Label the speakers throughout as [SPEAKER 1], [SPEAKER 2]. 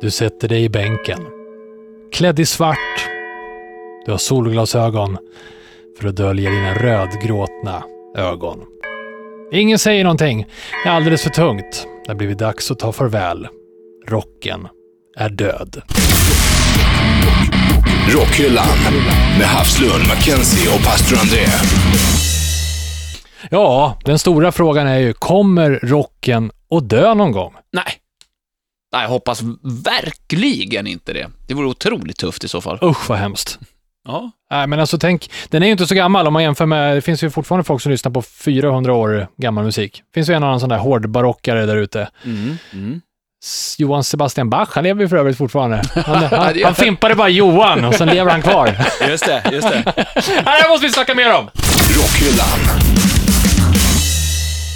[SPEAKER 1] Du sätter dig i bänken. Klädd i svart. Du har solglasögon för att dölja dina rödgråtna ögon. Ingen säger någonting. Det är alldeles för tungt. Det har blivit dags att ta farväl. Rocken är död.
[SPEAKER 2] Rockhyllan med Havslund, Mackenzie och pastor André.
[SPEAKER 1] Ja, den stora frågan är ju, kommer rocken att dö någon gång?
[SPEAKER 3] Nej. Nej, jag hoppas verkligen inte det. Det vore otroligt tufft i så fall.
[SPEAKER 1] Usch vad hemskt.
[SPEAKER 3] Ja.
[SPEAKER 1] Nej, men alltså tänk, den är ju inte så gammal om man jämför med, det finns ju fortfarande folk som lyssnar på 400 år gammal musik. Det finns ju en annan sån där hårdbarockare där ute.
[SPEAKER 3] Mm. Mm.
[SPEAKER 1] S- Johann Sebastian Bach, han lever ju för övrigt fortfarande. Han,
[SPEAKER 3] Ja,
[SPEAKER 1] han,
[SPEAKER 3] det-
[SPEAKER 1] han fimpade bara Johan och sen lever han kvar. Nej,
[SPEAKER 3] Just det, just det.
[SPEAKER 1] Det här måste vi snacka mer om!
[SPEAKER 2] Rockhyllan,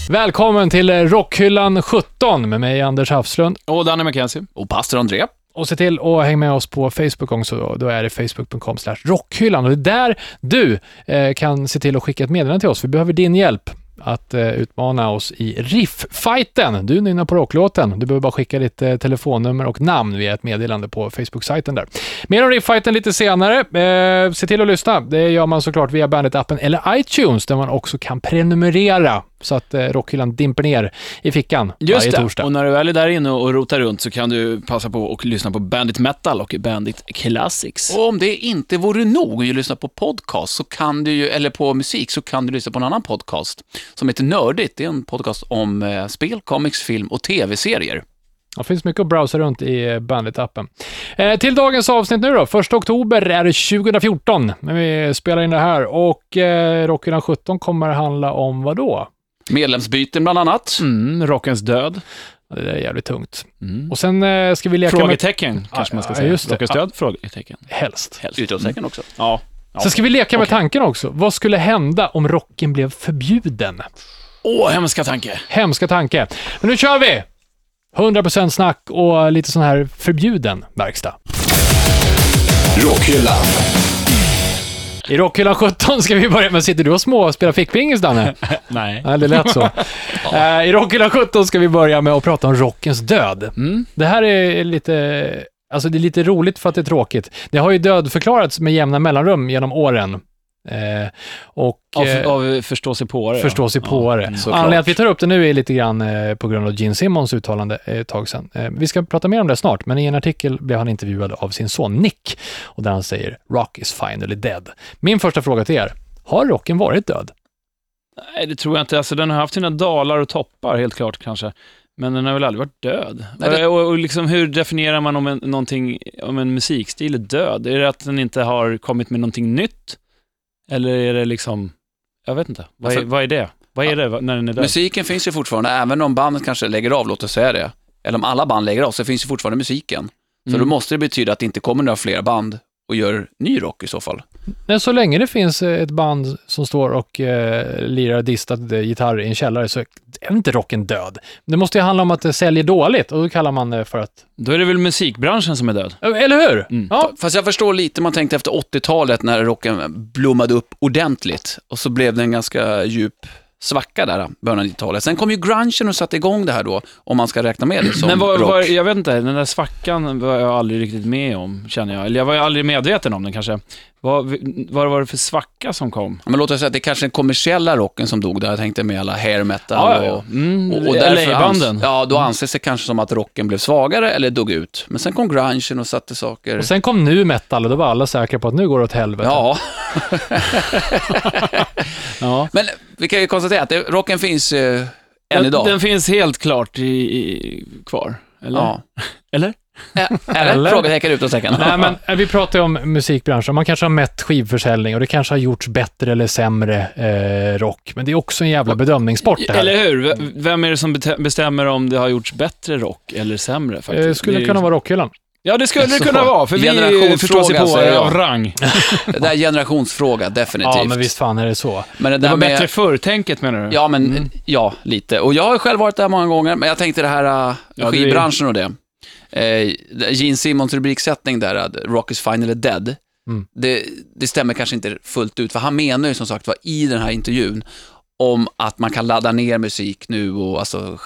[SPEAKER 1] Välkommen till eh, Rockhyllan 17 med mig Anders Hafslund.
[SPEAKER 3] Och Danny McKenzie. Och pastor André.
[SPEAKER 1] Och se till att hänga med oss på Facebook också. Då är det facebook.com slash rockhyllan. Och det är där du eh, kan se till att skicka ett meddelande till oss. Vi behöver din hjälp att eh, utmana oss i riff-fighten. Du nynnar på rocklåten. Du behöver bara skicka ditt eh, telefonnummer och namn via ett meddelande på Facebook-sajten där. Mer om riff-fighten lite senare. Eh, se till att lyssna. Det gör man såklart via Bandit-appen eller iTunes, där man också kan prenumerera så att eh, rockhyllan dimper ner i fickan
[SPEAKER 3] Just
[SPEAKER 1] varje
[SPEAKER 3] det.
[SPEAKER 1] torsdag.
[SPEAKER 3] Och när du väl är där inne och rotar runt så kan du passa på och lyssna på Bandit Metal och Bandit Classics. Och om det inte vore nog att lyssna på podcast så kan du ju, eller på musik, så kan du lyssna på en annan podcast som heter Nördigt. Det är en podcast om eh, spel, comics, film och tv-serier.
[SPEAKER 1] Det finns mycket att browsa runt i eh, Bandit-appen. Eh, till dagens avsnitt nu då. 1 oktober är det 2014 när vi spelar in det här och eh, Rockhyllan 17 kommer handla om vad då?
[SPEAKER 3] Medlemsbyten bland annat.
[SPEAKER 4] Mm, rockens död.
[SPEAKER 1] Ja, Det där är jävligt tungt.
[SPEAKER 3] Mm.
[SPEAKER 1] Och sen eh, ska vi leka med...
[SPEAKER 4] Frågetecken kanske
[SPEAKER 1] Ja,
[SPEAKER 4] man ska
[SPEAKER 1] ja,
[SPEAKER 4] säga.
[SPEAKER 1] just det.
[SPEAKER 4] Rockens död? Frågetecken. Mm.
[SPEAKER 1] Helst.
[SPEAKER 3] Helst. Utropstecken också.
[SPEAKER 4] Ja.
[SPEAKER 1] Sen ska vi leka med tanken också. Vad skulle hända om rocken blev förbjuden?
[SPEAKER 3] Åh, hemska tanke.
[SPEAKER 1] Hemska tanke. Men nu kör vi! 100% snack och lite sån här förbjuden verkstad.
[SPEAKER 2] Rockhyllan,
[SPEAKER 1] I Rockhyllan 17 ska vi börja med, sitter du och små och spelar fickpingis Danne?
[SPEAKER 4] Nej.
[SPEAKER 1] Ja, det lät så. Eh, I Rockhyllan 17 ska vi börja med att prata om rockens död.
[SPEAKER 4] Mm.
[SPEAKER 1] Det här är lite, alltså det är lite roligt för att det är tråkigt. Det har ju dödförklarats med jämna mellanrum genom åren. Eh, och
[SPEAKER 4] Av,
[SPEAKER 1] eh,
[SPEAKER 4] av förstå sig på det.
[SPEAKER 1] förstå sig på
[SPEAKER 3] mm,
[SPEAKER 1] det. Anledningen att vi tar upp det nu är lite grann eh, på grund av Gene Simmons uttalande eh, ett tag sedan. Eh, vi ska prata mer om det snart, men i en artikel blev han intervjuad av sin son Nick och där han säger “Rock is finally dead”. Min första fråga till er, har rocken varit död?
[SPEAKER 4] Nej, det tror jag inte. Alltså, den har haft sina dalar och toppar, helt klart kanske. Men den har väl aldrig varit död?
[SPEAKER 3] Nej, det-
[SPEAKER 4] Och, och liksom, hur definierar man om en, någonting, om en musikstil är död? Är det att den inte har kommit med någonting nytt? Eller är det liksom... Jag vet inte. Vad, är,
[SPEAKER 3] Alltså-
[SPEAKER 4] vad är det? Vad är det va- när den är död?
[SPEAKER 3] Musiken finns ju fortfarande, även om bandet kanske lägger av, låt oss säga det. Eller om alla band lägger av, så finns ju fortfarande musiken. Så
[SPEAKER 4] Mm.
[SPEAKER 3] då måste det betyda att det inte kommer några fler band och gör ny rock i så fall.
[SPEAKER 1] Nej, så länge det finns eh, ett band som står och eh, lirar distad eh, gitarr i en källare så är inte rocken död. Det måste ju handla om att det säljer dåligt och då kallar man det för att... Eh,
[SPEAKER 4] Då är det väl musikbranschen som är död?
[SPEAKER 1] Eller hur?
[SPEAKER 4] Mm.
[SPEAKER 1] Ja.
[SPEAKER 3] Fast jag förstår lite, man tänkte efter 80-talet när rocken blommade upp ordentligt och så blev det en ganska djup svacka där, början av 90-talet. Sen kom ju grungen och satte igång det här då, om man ska räkna med det som
[SPEAKER 4] Men vad,
[SPEAKER 3] rock.
[SPEAKER 4] vad, jag vet inte, den där svackan var jag aldrig riktigt med om, känner jag. Eller jag var ju aldrig medveten om den kanske. Vad, vad var det för svacka som kom?
[SPEAKER 3] Ja, Men låt oss säga att det är kanske den kommersiella rocken som dog där, jag tänkte med alla hair metal och...
[SPEAKER 4] Mm,
[SPEAKER 3] Och, och därför ans-
[SPEAKER 4] LA-banden.
[SPEAKER 3] ja, då anses det kanske som att rocken blev svagare eller dog ut. Men sen kom grungen och satte saker...
[SPEAKER 1] Och sen kom nu metal och då var alla säkra på att nu går det åt helvete.
[SPEAKER 3] Ja,
[SPEAKER 4] Ja.
[SPEAKER 3] men vi kan ju konstatera att det, rocken finns eh, än
[SPEAKER 4] Den,
[SPEAKER 3] idag.
[SPEAKER 4] den finns helt klart i, i, kvar. Eller?
[SPEAKER 3] ja.
[SPEAKER 4] Eller?
[SPEAKER 3] Ä- Eller?
[SPEAKER 1] Eller?
[SPEAKER 3] Frågetecken utan tecken.
[SPEAKER 1] Nej, men eh, vi pratar ju om musikbranschen. Man kanske har mätt skivförsäljning och det kanske har gjorts bättre eller sämre eh, rock. Men det är också en jävla bedömningssport det här.
[SPEAKER 4] Eller hur? V- Vem är det som bete- bestämmer om det har gjorts bättre rock eller sämre? Faktiskt?
[SPEAKER 1] Eh, skulle
[SPEAKER 4] det är-
[SPEAKER 1] kunna vara rockhyllan.
[SPEAKER 4] Ja, det skulle det
[SPEAKER 3] Så.
[SPEAKER 4] kunna vara, för vi är ju förstås
[SPEAKER 3] Generationsfråga,
[SPEAKER 4] på
[SPEAKER 3] säger jag.
[SPEAKER 4] av rang.
[SPEAKER 3] Det där är generationsfråga, definitivt.
[SPEAKER 1] Ja, men visst fan är det så.
[SPEAKER 3] Men det där
[SPEAKER 4] Det var
[SPEAKER 3] med,
[SPEAKER 4] bättre förr-tänket menar du?
[SPEAKER 3] Ja, men ja, lite. Och jag har själv varit där många gånger, men jag tänkte det här eh,
[SPEAKER 4] Ja, det är-
[SPEAKER 3] skivbranschen och det. Eh, Gene Simmons rubriksättning där, att Rock is finally dead,
[SPEAKER 1] Mm.
[SPEAKER 3] det, det stämmer kanske inte fullt ut, för han menar ju som sagt var i den här intervjun, om att man kan ladda ner musik nu och alltså,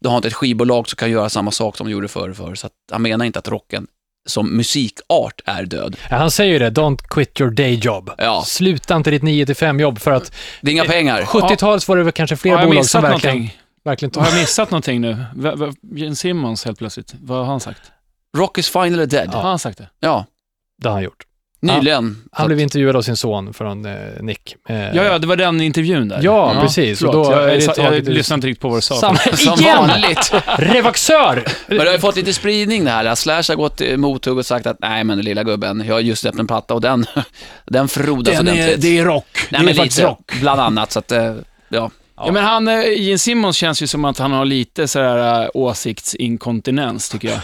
[SPEAKER 3] du har inte ett skivbolag som kan göra samma sak som de gjorde förr. förr så att han menar inte att rocken som musikart är död.
[SPEAKER 1] Ja, han säger ju det, don't quit your day job.
[SPEAKER 3] Ja.
[SPEAKER 1] Sluta inte ditt 9 till 5 jobb för att
[SPEAKER 3] Det är inga pengar.
[SPEAKER 1] 70-talet var det väl kanske fler
[SPEAKER 4] Har jag
[SPEAKER 1] bolag som
[SPEAKER 4] missat
[SPEAKER 1] verkligen,
[SPEAKER 4] någonting?
[SPEAKER 1] verkligen tog...
[SPEAKER 4] Har jag missat någonting nu? V- v- Gene Simmons helt plötsligt, vad har han sagt?
[SPEAKER 3] Rock is finally dead.
[SPEAKER 4] Har
[SPEAKER 3] Ja,
[SPEAKER 4] han sagt det?
[SPEAKER 1] Det har han gjort.
[SPEAKER 3] nyligen.
[SPEAKER 1] Han blev intervjuad av sin son från eh, Nick. Eh,
[SPEAKER 4] Ja, ja, det var den intervjun där.
[SPEAKER 1] Ja, precis.
[SPEAKER 4] Förlåt,
[SPEAKER 1] Och då är
[SPEAKER 4] jag,
[SPEAKER 1] det
[SPEAKER 4] jag, jag,
[SPEAKER 1] taget ur-
[SPEAKER 4] lyssnade inte riktigt på vad du sa.
[SPEAKER 1] Samma,
[SPEAKER 3] Som
[SPEAKER 1] igen!
[SPEAKER 3] vanligt.
[SPEAKER 1] Revaxör!
[SPEAKER 3] Men det har ju fått lite spridning det här. Slash har gått eh, mothugg och sagt att nej men lilla gubben, jag har just släppt en platta och den, den frodas ordentligt.
[SPEAKER 4] är rock.
[SPEAKER 3] nej, men lite, Bland annat, så att, eh, ja.
[SPEAKER 4] Ja, men han, eh, Gene Simmons känns ju som att han har lite sådär eh, åsiktsinkontinens, tycker jag.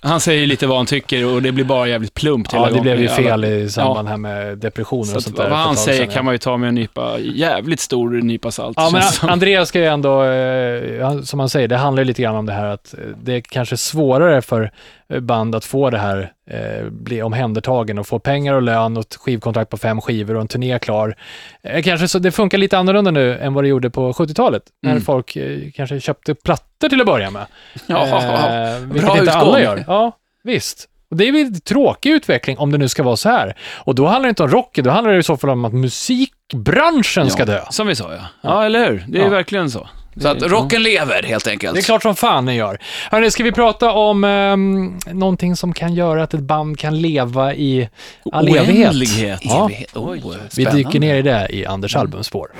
[SPEAKER 4] Han säger lite vad han tycker och det blir bara jävligt plumpt hela
[SPEAKER 1] Ja, det
[SPEAKER 4] gången.
[SPEAKER 1] blev ju
[SPEAKER 4] Alla-
[SPEAKER 1] fel i samband här med depressioner
[SPEAKER 4] Så
[SPEAKER 1] och
[SPEAKER 4] att,
[SPEAKER 1] sånt där.
[SPEAKER 4] vad
[SPEAKER 1] för ett
[SPEAKER 4] han
[SPEAKER 1] tag
[SPEAKER 4] säger
[SPEAKER 1] sedan, ja.
[SPEAKER 4] kan man ju ta med en nypa, jävligt stor nypa salt.
[SPEAKER 1] Ja, men
[SPEAKER 4] känns som.
[SPEAKER 1] Andreas ska ju ändå, eh, han- som han säger, det handlar ju lite grann om det här att eh, det är kanske svårare för eh, band att få det här, eh, bli omhändertagen och få pengar och lön och ett skivkontrakt på fem skivor och en turné klar. Eh, kanske så, det funkar lite annorlunda nu än vad det gjorde på 70-talet, när
[SPEAKER 3] Mm.
[SPEAKER 1] folk eh, kanske köpte plattor till att börja med.
[SPEAKER 3] ja.
[SPEAKER 1] Eh, vilket
[SPEAKER 3] Bra
[SPEAKER 1] inte alla
[SPEAKER 3] utgång.
[SPEAKER 1] gör. Ja, visst. Och det är väl en tråkig utveckling om det nu ska vara så här. Och då handlar det inte om rocken, då handlar det i så fall om att musikbranschen ska dö.
[SPEAKER 4] Som vi sa ja. Ja, eller hur? Det är
[SPEAKER 1] Ja.
[SPEAKER 4] verkligen så.
[SPEAKER 3] Så att rocken lever helt enkelt.
[SPEAKER 1] Det är klart som fan den gör. Hörrni, ska vi prata om ehm, någonting som kan göra att ett band kan leva i all evighet?
[SPEAKER 4] Oändlighet.
[SPEAKER 1] Ja.
[SPEAKER 3] Evighet. Oj,
[SPEAKER 1] Vi
[SPEAKER 3] spännande.
[SPEAKER 1] dyker ner i det i Anders albumspår.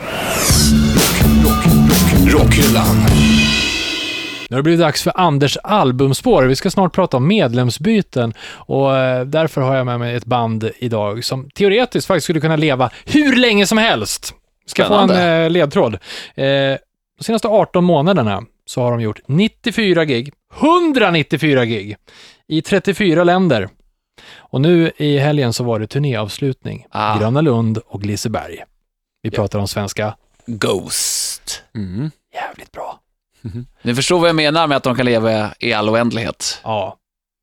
[SPEAKER 2] Rockhyllan.
[SPEAKER 1] Nu har det blivit dags för Anders albumspår. Vi ska snart prata om medlemsbyten och eh, därför har jag med mig ett band idag som teoretiskt faktiskt skulle kunna leva hur länge som helst. Ska få en
[SPEAKER 3] Spännande.
[SPEAKER 1] eh, ledtråd. Eh, de senaste 18 månaderna så har de gjort 94 gig, 194 gig i 34 länder. Och nu i helgen så var det turnéavslutning.
[SPEAKER 3] Ah.
[SPEAKER 1] Gröna Lund och Liseberg. Vi pratar om svenska.
[SPEAKER 3] Ghost.
[SPEAKER 4] Mm.
[SPEAKER 1] Jävligt bra.
[SPEAKER 3] Ni förstår vad jag menar med att de kan leva i all oändlighet.
[SPEAKER 1] Ja.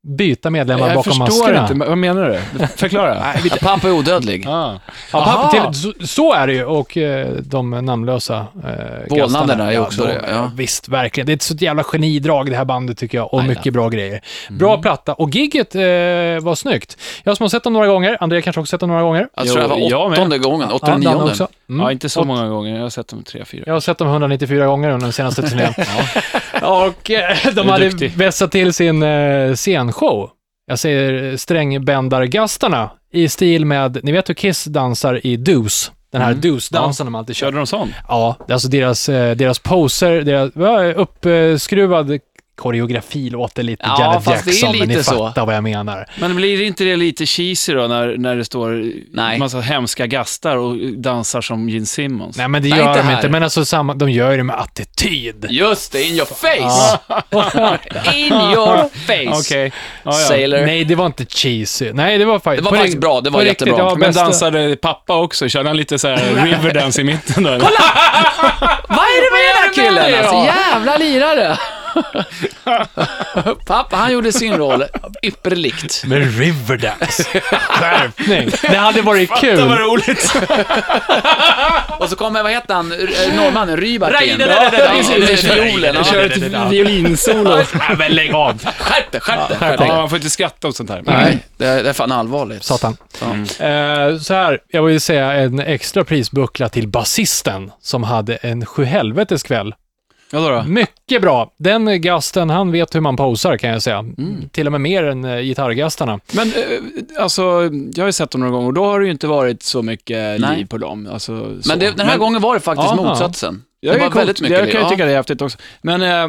[SPEAKER 1] Byta medlemmar
[SPEAKER 4] Jag
[SPEAKER 1] bakom
[SPEAKER 4] förstår
[SPEAKER 1] maskerna.
[SPEAKER 4] inte, men vad menar du? Förklara.
[SPEAKER 3] Ja, Pampa är odödlig.
[SPEAKER 4] ah.
[SPEAKER 1] Ja,
[SPEAKER 3] Aha!
[SPEAKER 1] papper till, så, så är det ju och eh, de namnlösa eh,
[SPEAKER 3] Vålnaderna är
[SPEAKER 1] Ja,
[SPEAKER 3] också
[SPEAKER 1] de-
[SPEAKER 3] det, ja.
[SPEAKER 1] Visst, verkligen. Det är ett sånt jävla genidrag det här bandet tycker jag och
[SPEAKER 3] Aj då. Mm.
[SPEAKER 1] mycket bra grejer. Bra platta och gigget eh, var snyggt. Jag som har sett dem några gånger, André kanske också sett dem några gånger.
[SPEAKER 3] Jag tror
[SPEAKER 4] Jo,
[SPEAKER 3] det
[SPEAKER 4] jag
[SPEAKER 3] var
[SPEAKER 4] med.
[SPEAKER 3] åttonde gången,
[SPEAKER 1] Ja,
[SPEAKER 3] åttonde
[SPEAKER 1] Danne
[SPEAKER 3] nionde.
[SPEAKER 1] också. Mm.
[SPEAKER 4] Ja, inte så
[SPEAKER 1] Och-
[SPEAKER 4] många gånger. Jag har sett dem tre, fyra.
[SPEAKER 1] Jag har sett dem 194 gånger under den senaste turnén. Och eh, de
[SPEAKER 4] Du är
[SPEAKER 1] hade
[SPEAKER 4] duktig.
[SPEAKER 1] vässat till sin eh, scenshow. Jag säger strängbändargastarna i stil med, ni vet hur Kiss dansar i Doos. Den här
[SPEAKER 4] Mm.
[SPEAKER 1] Doos-dansen de alltid kör.
[SPEAKER 4] Körde de sån?
[SPEAKER 1] Ja, det är alltså deras, eh, deras poser, deras va, uppskruvad koreografi låter lite
[SPEAKER 3] Ja,
[SPEAKER 1] Janet
[SPEAKER 3] fast det är
[SPEAKER 1] Jackson, men ni
[SPEAKER 3] lite så.
[SPEAKER 1] fattar vad jag menar.
[SPEAKER 4] Men blir inte det lite cheesy då, när, när det står
[SPEAKER 3] Nej.
[SPEAKER 4] massa hemska gastar och dansar som Gene Simmons?
[SPEAKER 1] Nej, men det
[SPEAKER 3] Nej,
[SPEAKER 1] gör
[SPEAKER 3] inte
[SPEAKER 1] de
[SPEAKER 3] här.
[SPEAKER 1] inte, men alltså samma, de gör det med attityd.
[SPEAKER 3] Just det, in your face!
[SPEAKER 1] Ja.
[SPEAKER 3] In your face!
[SPEAKER 4] Okej. Ja, ja.
[SPEAKER 3] Sailor.
[SPEAKER 1] Nej, det var inte cheesy. Nej, det var faktiskt...
[SPEAKER 3] Det var
[SPEAKER 1] på
[SPEAKER 3] faktiskt
[SPEAKER 1] rikt-
[SPEAKER 3] bra, det var
[SPEAKER 1] på
[SPEAKER 3] jättebra.
[SPEAKER 1] Riktigt, det var
[SPEAKER 4] Men
[SPEAKER 1] bästa-
[SPEAKER 4] dansade pappa också? Körde han lite så här Riverdance i mitten då? eller?
[SPEAKER 3] Vad är det med den här
[SPEAKER 4] med
[SPEAKER 3] killen?
[SPEAKER 4] dig
[SPEAKER 3] Alltså,
[SPEAKER 4] då?
[SPEAKER 3] jävla lirare! Pappa, han gjorde sin roll ypperligt.
[SPEAKER 1] Med Riverdance. Skärpning. Det hade varit kul.
[SPEAKER 4] roligt!
[SPEAKER 3] Och så kommer, vad heter han, R- eh, norrmannen Rybak in.
[SPEAKER 4] Ja, precis.
[SPEAKER 3] Violen.
[SPEAKER 4] Jag
[SPEAKER 3] ja.
[SPEAKER 4] Kör ett typ violinsolo.
[SPEAKER 1] Men lägg av.
[SPEAKER 3] Skärp dig, skärp dig, skärp
[SPEAKER 4] Ja,
[SPEAKER 3] dig.
[SPEAKER 4] man får inte skratta åt sånt här. Mm.
[SPEAKER 3] Nej, det är det är fan allvarligt.
[SPEAKER 1] Satan.
[SPEAKER 3] Mm.
[SPEAKER 1] Eh, så här, jag vill säga en extra prisbuckla till basisten som hade en sjuhelvetes kväll.
[SPEAKER 4] Vadå då?
[SPEAKER 1] Mycket bra. Den gasten, han vet hur man posar kan jag säga.
[SPEAKER 4] Mm.
[SPEAKER 1] Till och med mer än eh, gitarrgastarna.
[SPEAKER 4] Men eh, alltså, jag har ju sett dem några gånger och då har det ju inte varit så mycket
[SPEAKER 3] Nej.
[SPEAKER 4] liv på dem. Alltså, så.
[SPEAKER 3] Men det, den här gången var det faktiskt
[SPEAKER 1] Ja, ja.
[SPEAKER 3] motsatsen.
[SPEAKER 4] jag
[SPEAKER 3] Det var
[SPEAKER 4] är
[SPEAKER 3] väldigt mycket
[SPEAKER 4] Jag
[SPEAKER 3] liv,
[SPEAKER 4] kan ju
[SPEAKER 3] ja.
[SPEAKER 4] tycka det är häftigt också. Men eh,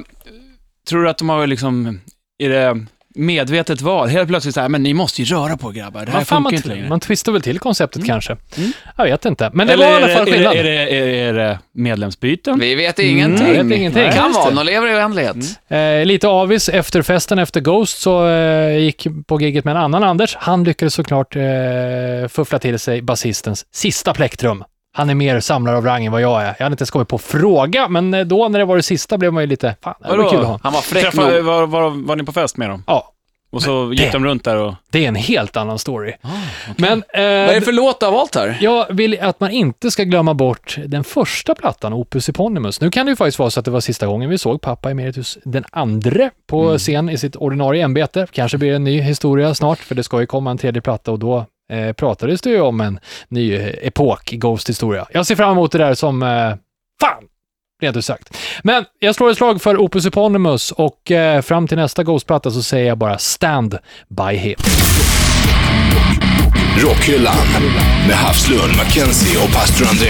[SPEAKER 4] tror du att de har liksom, är det medvetet val? Helt plötsligt så här, men ni måste ju röra på er grabbar, det här
[SPEAKER 1] Man, fan,
[SPEAKER 4] funkar
[SPEAKER 1] man,
[SPEAKER 4] inte längre.
[SPEAKER 1] man twistar väl till konceptet kanske.
[SPEAKER 4] Mm.
[SPEAKER 1] Jag vet inte. Men det var i
[SPEAKER 4] är
[SPEAKER 1] alla fall
[SPEAKER 4] det- är
[SPEAKER 1] skillnad.
[SPEAKER 4] det, är, det, är, det, är det medlemsbyten?
[SPEAKER 3] Vi vet ingenting.
[SPEAKER 1] jag vet ingenting.
[SPEAKER 3] Det
[SPEAKER 1] Nej,
[SPEAKER 3] kan
[SPEAKER 1] just
[SPEAKER 3] vara,
[SPEAKER 1] det.
[SPEAKER 3] de lever i oändlighet.
[SPEAKER 4] Mm.
[SPEAKER 1] Eh, lite avis efter festen, efter Ghost, så eh, gick på giget med en annan Anders. Han lyckades såklart eh, fuffla till sig basistens sista plektrum. Han är mer samlare av rang än vad jag är. Jag hade inte ens kommit på fråga, men eh, då när det var det sista blev man ju lite, fan, det här var
[SPEAKER 4] Vadå?
[SPEAKER 1] kul att ha.
[SPEAKER 3] Han var fräck
[SPEAKER 4] Träffa,
[SPEAKER 3] nog.
[SPEAKER 4] var, var, var ni på fest med dem?
[SPEAKER 1] Ja,
[SPEAKER 4] Och så
[SPEAKER 1] Men det-
[SPEAKER 4] gick de runt där och...
[SPEAKER 1] Det är en helt annan story.
[SPEAKER 4] Ah,
[SPEAKER 1] Men eh,
[SPEAKER 3] Vad är det för låt du har valt här?
[SPEAKER 1] jag vill att man inte ska glömma bort den första plattan, Opus Eponymus. Nu kan det ju faktiskt vara så att det var sista gången vi såg pappa Emeritus den andre på scen i sitt ordinarie ämbete. Kanske blir det en ny historia snart, för det ska ju komma en tredje platta och då eh, pratades det ju om en ny eh, epok i Ghost historia. Jag ser fram emot det där som eh, fan! Rent ut sagt. Men jag slår ett slag för Opus Eponymus och eh, fram till nästa Ghost-platta så säger jag bara stand by him.
[SPEAKER 2] Rockhyllan med Havslund, Mackenzie och pastor André.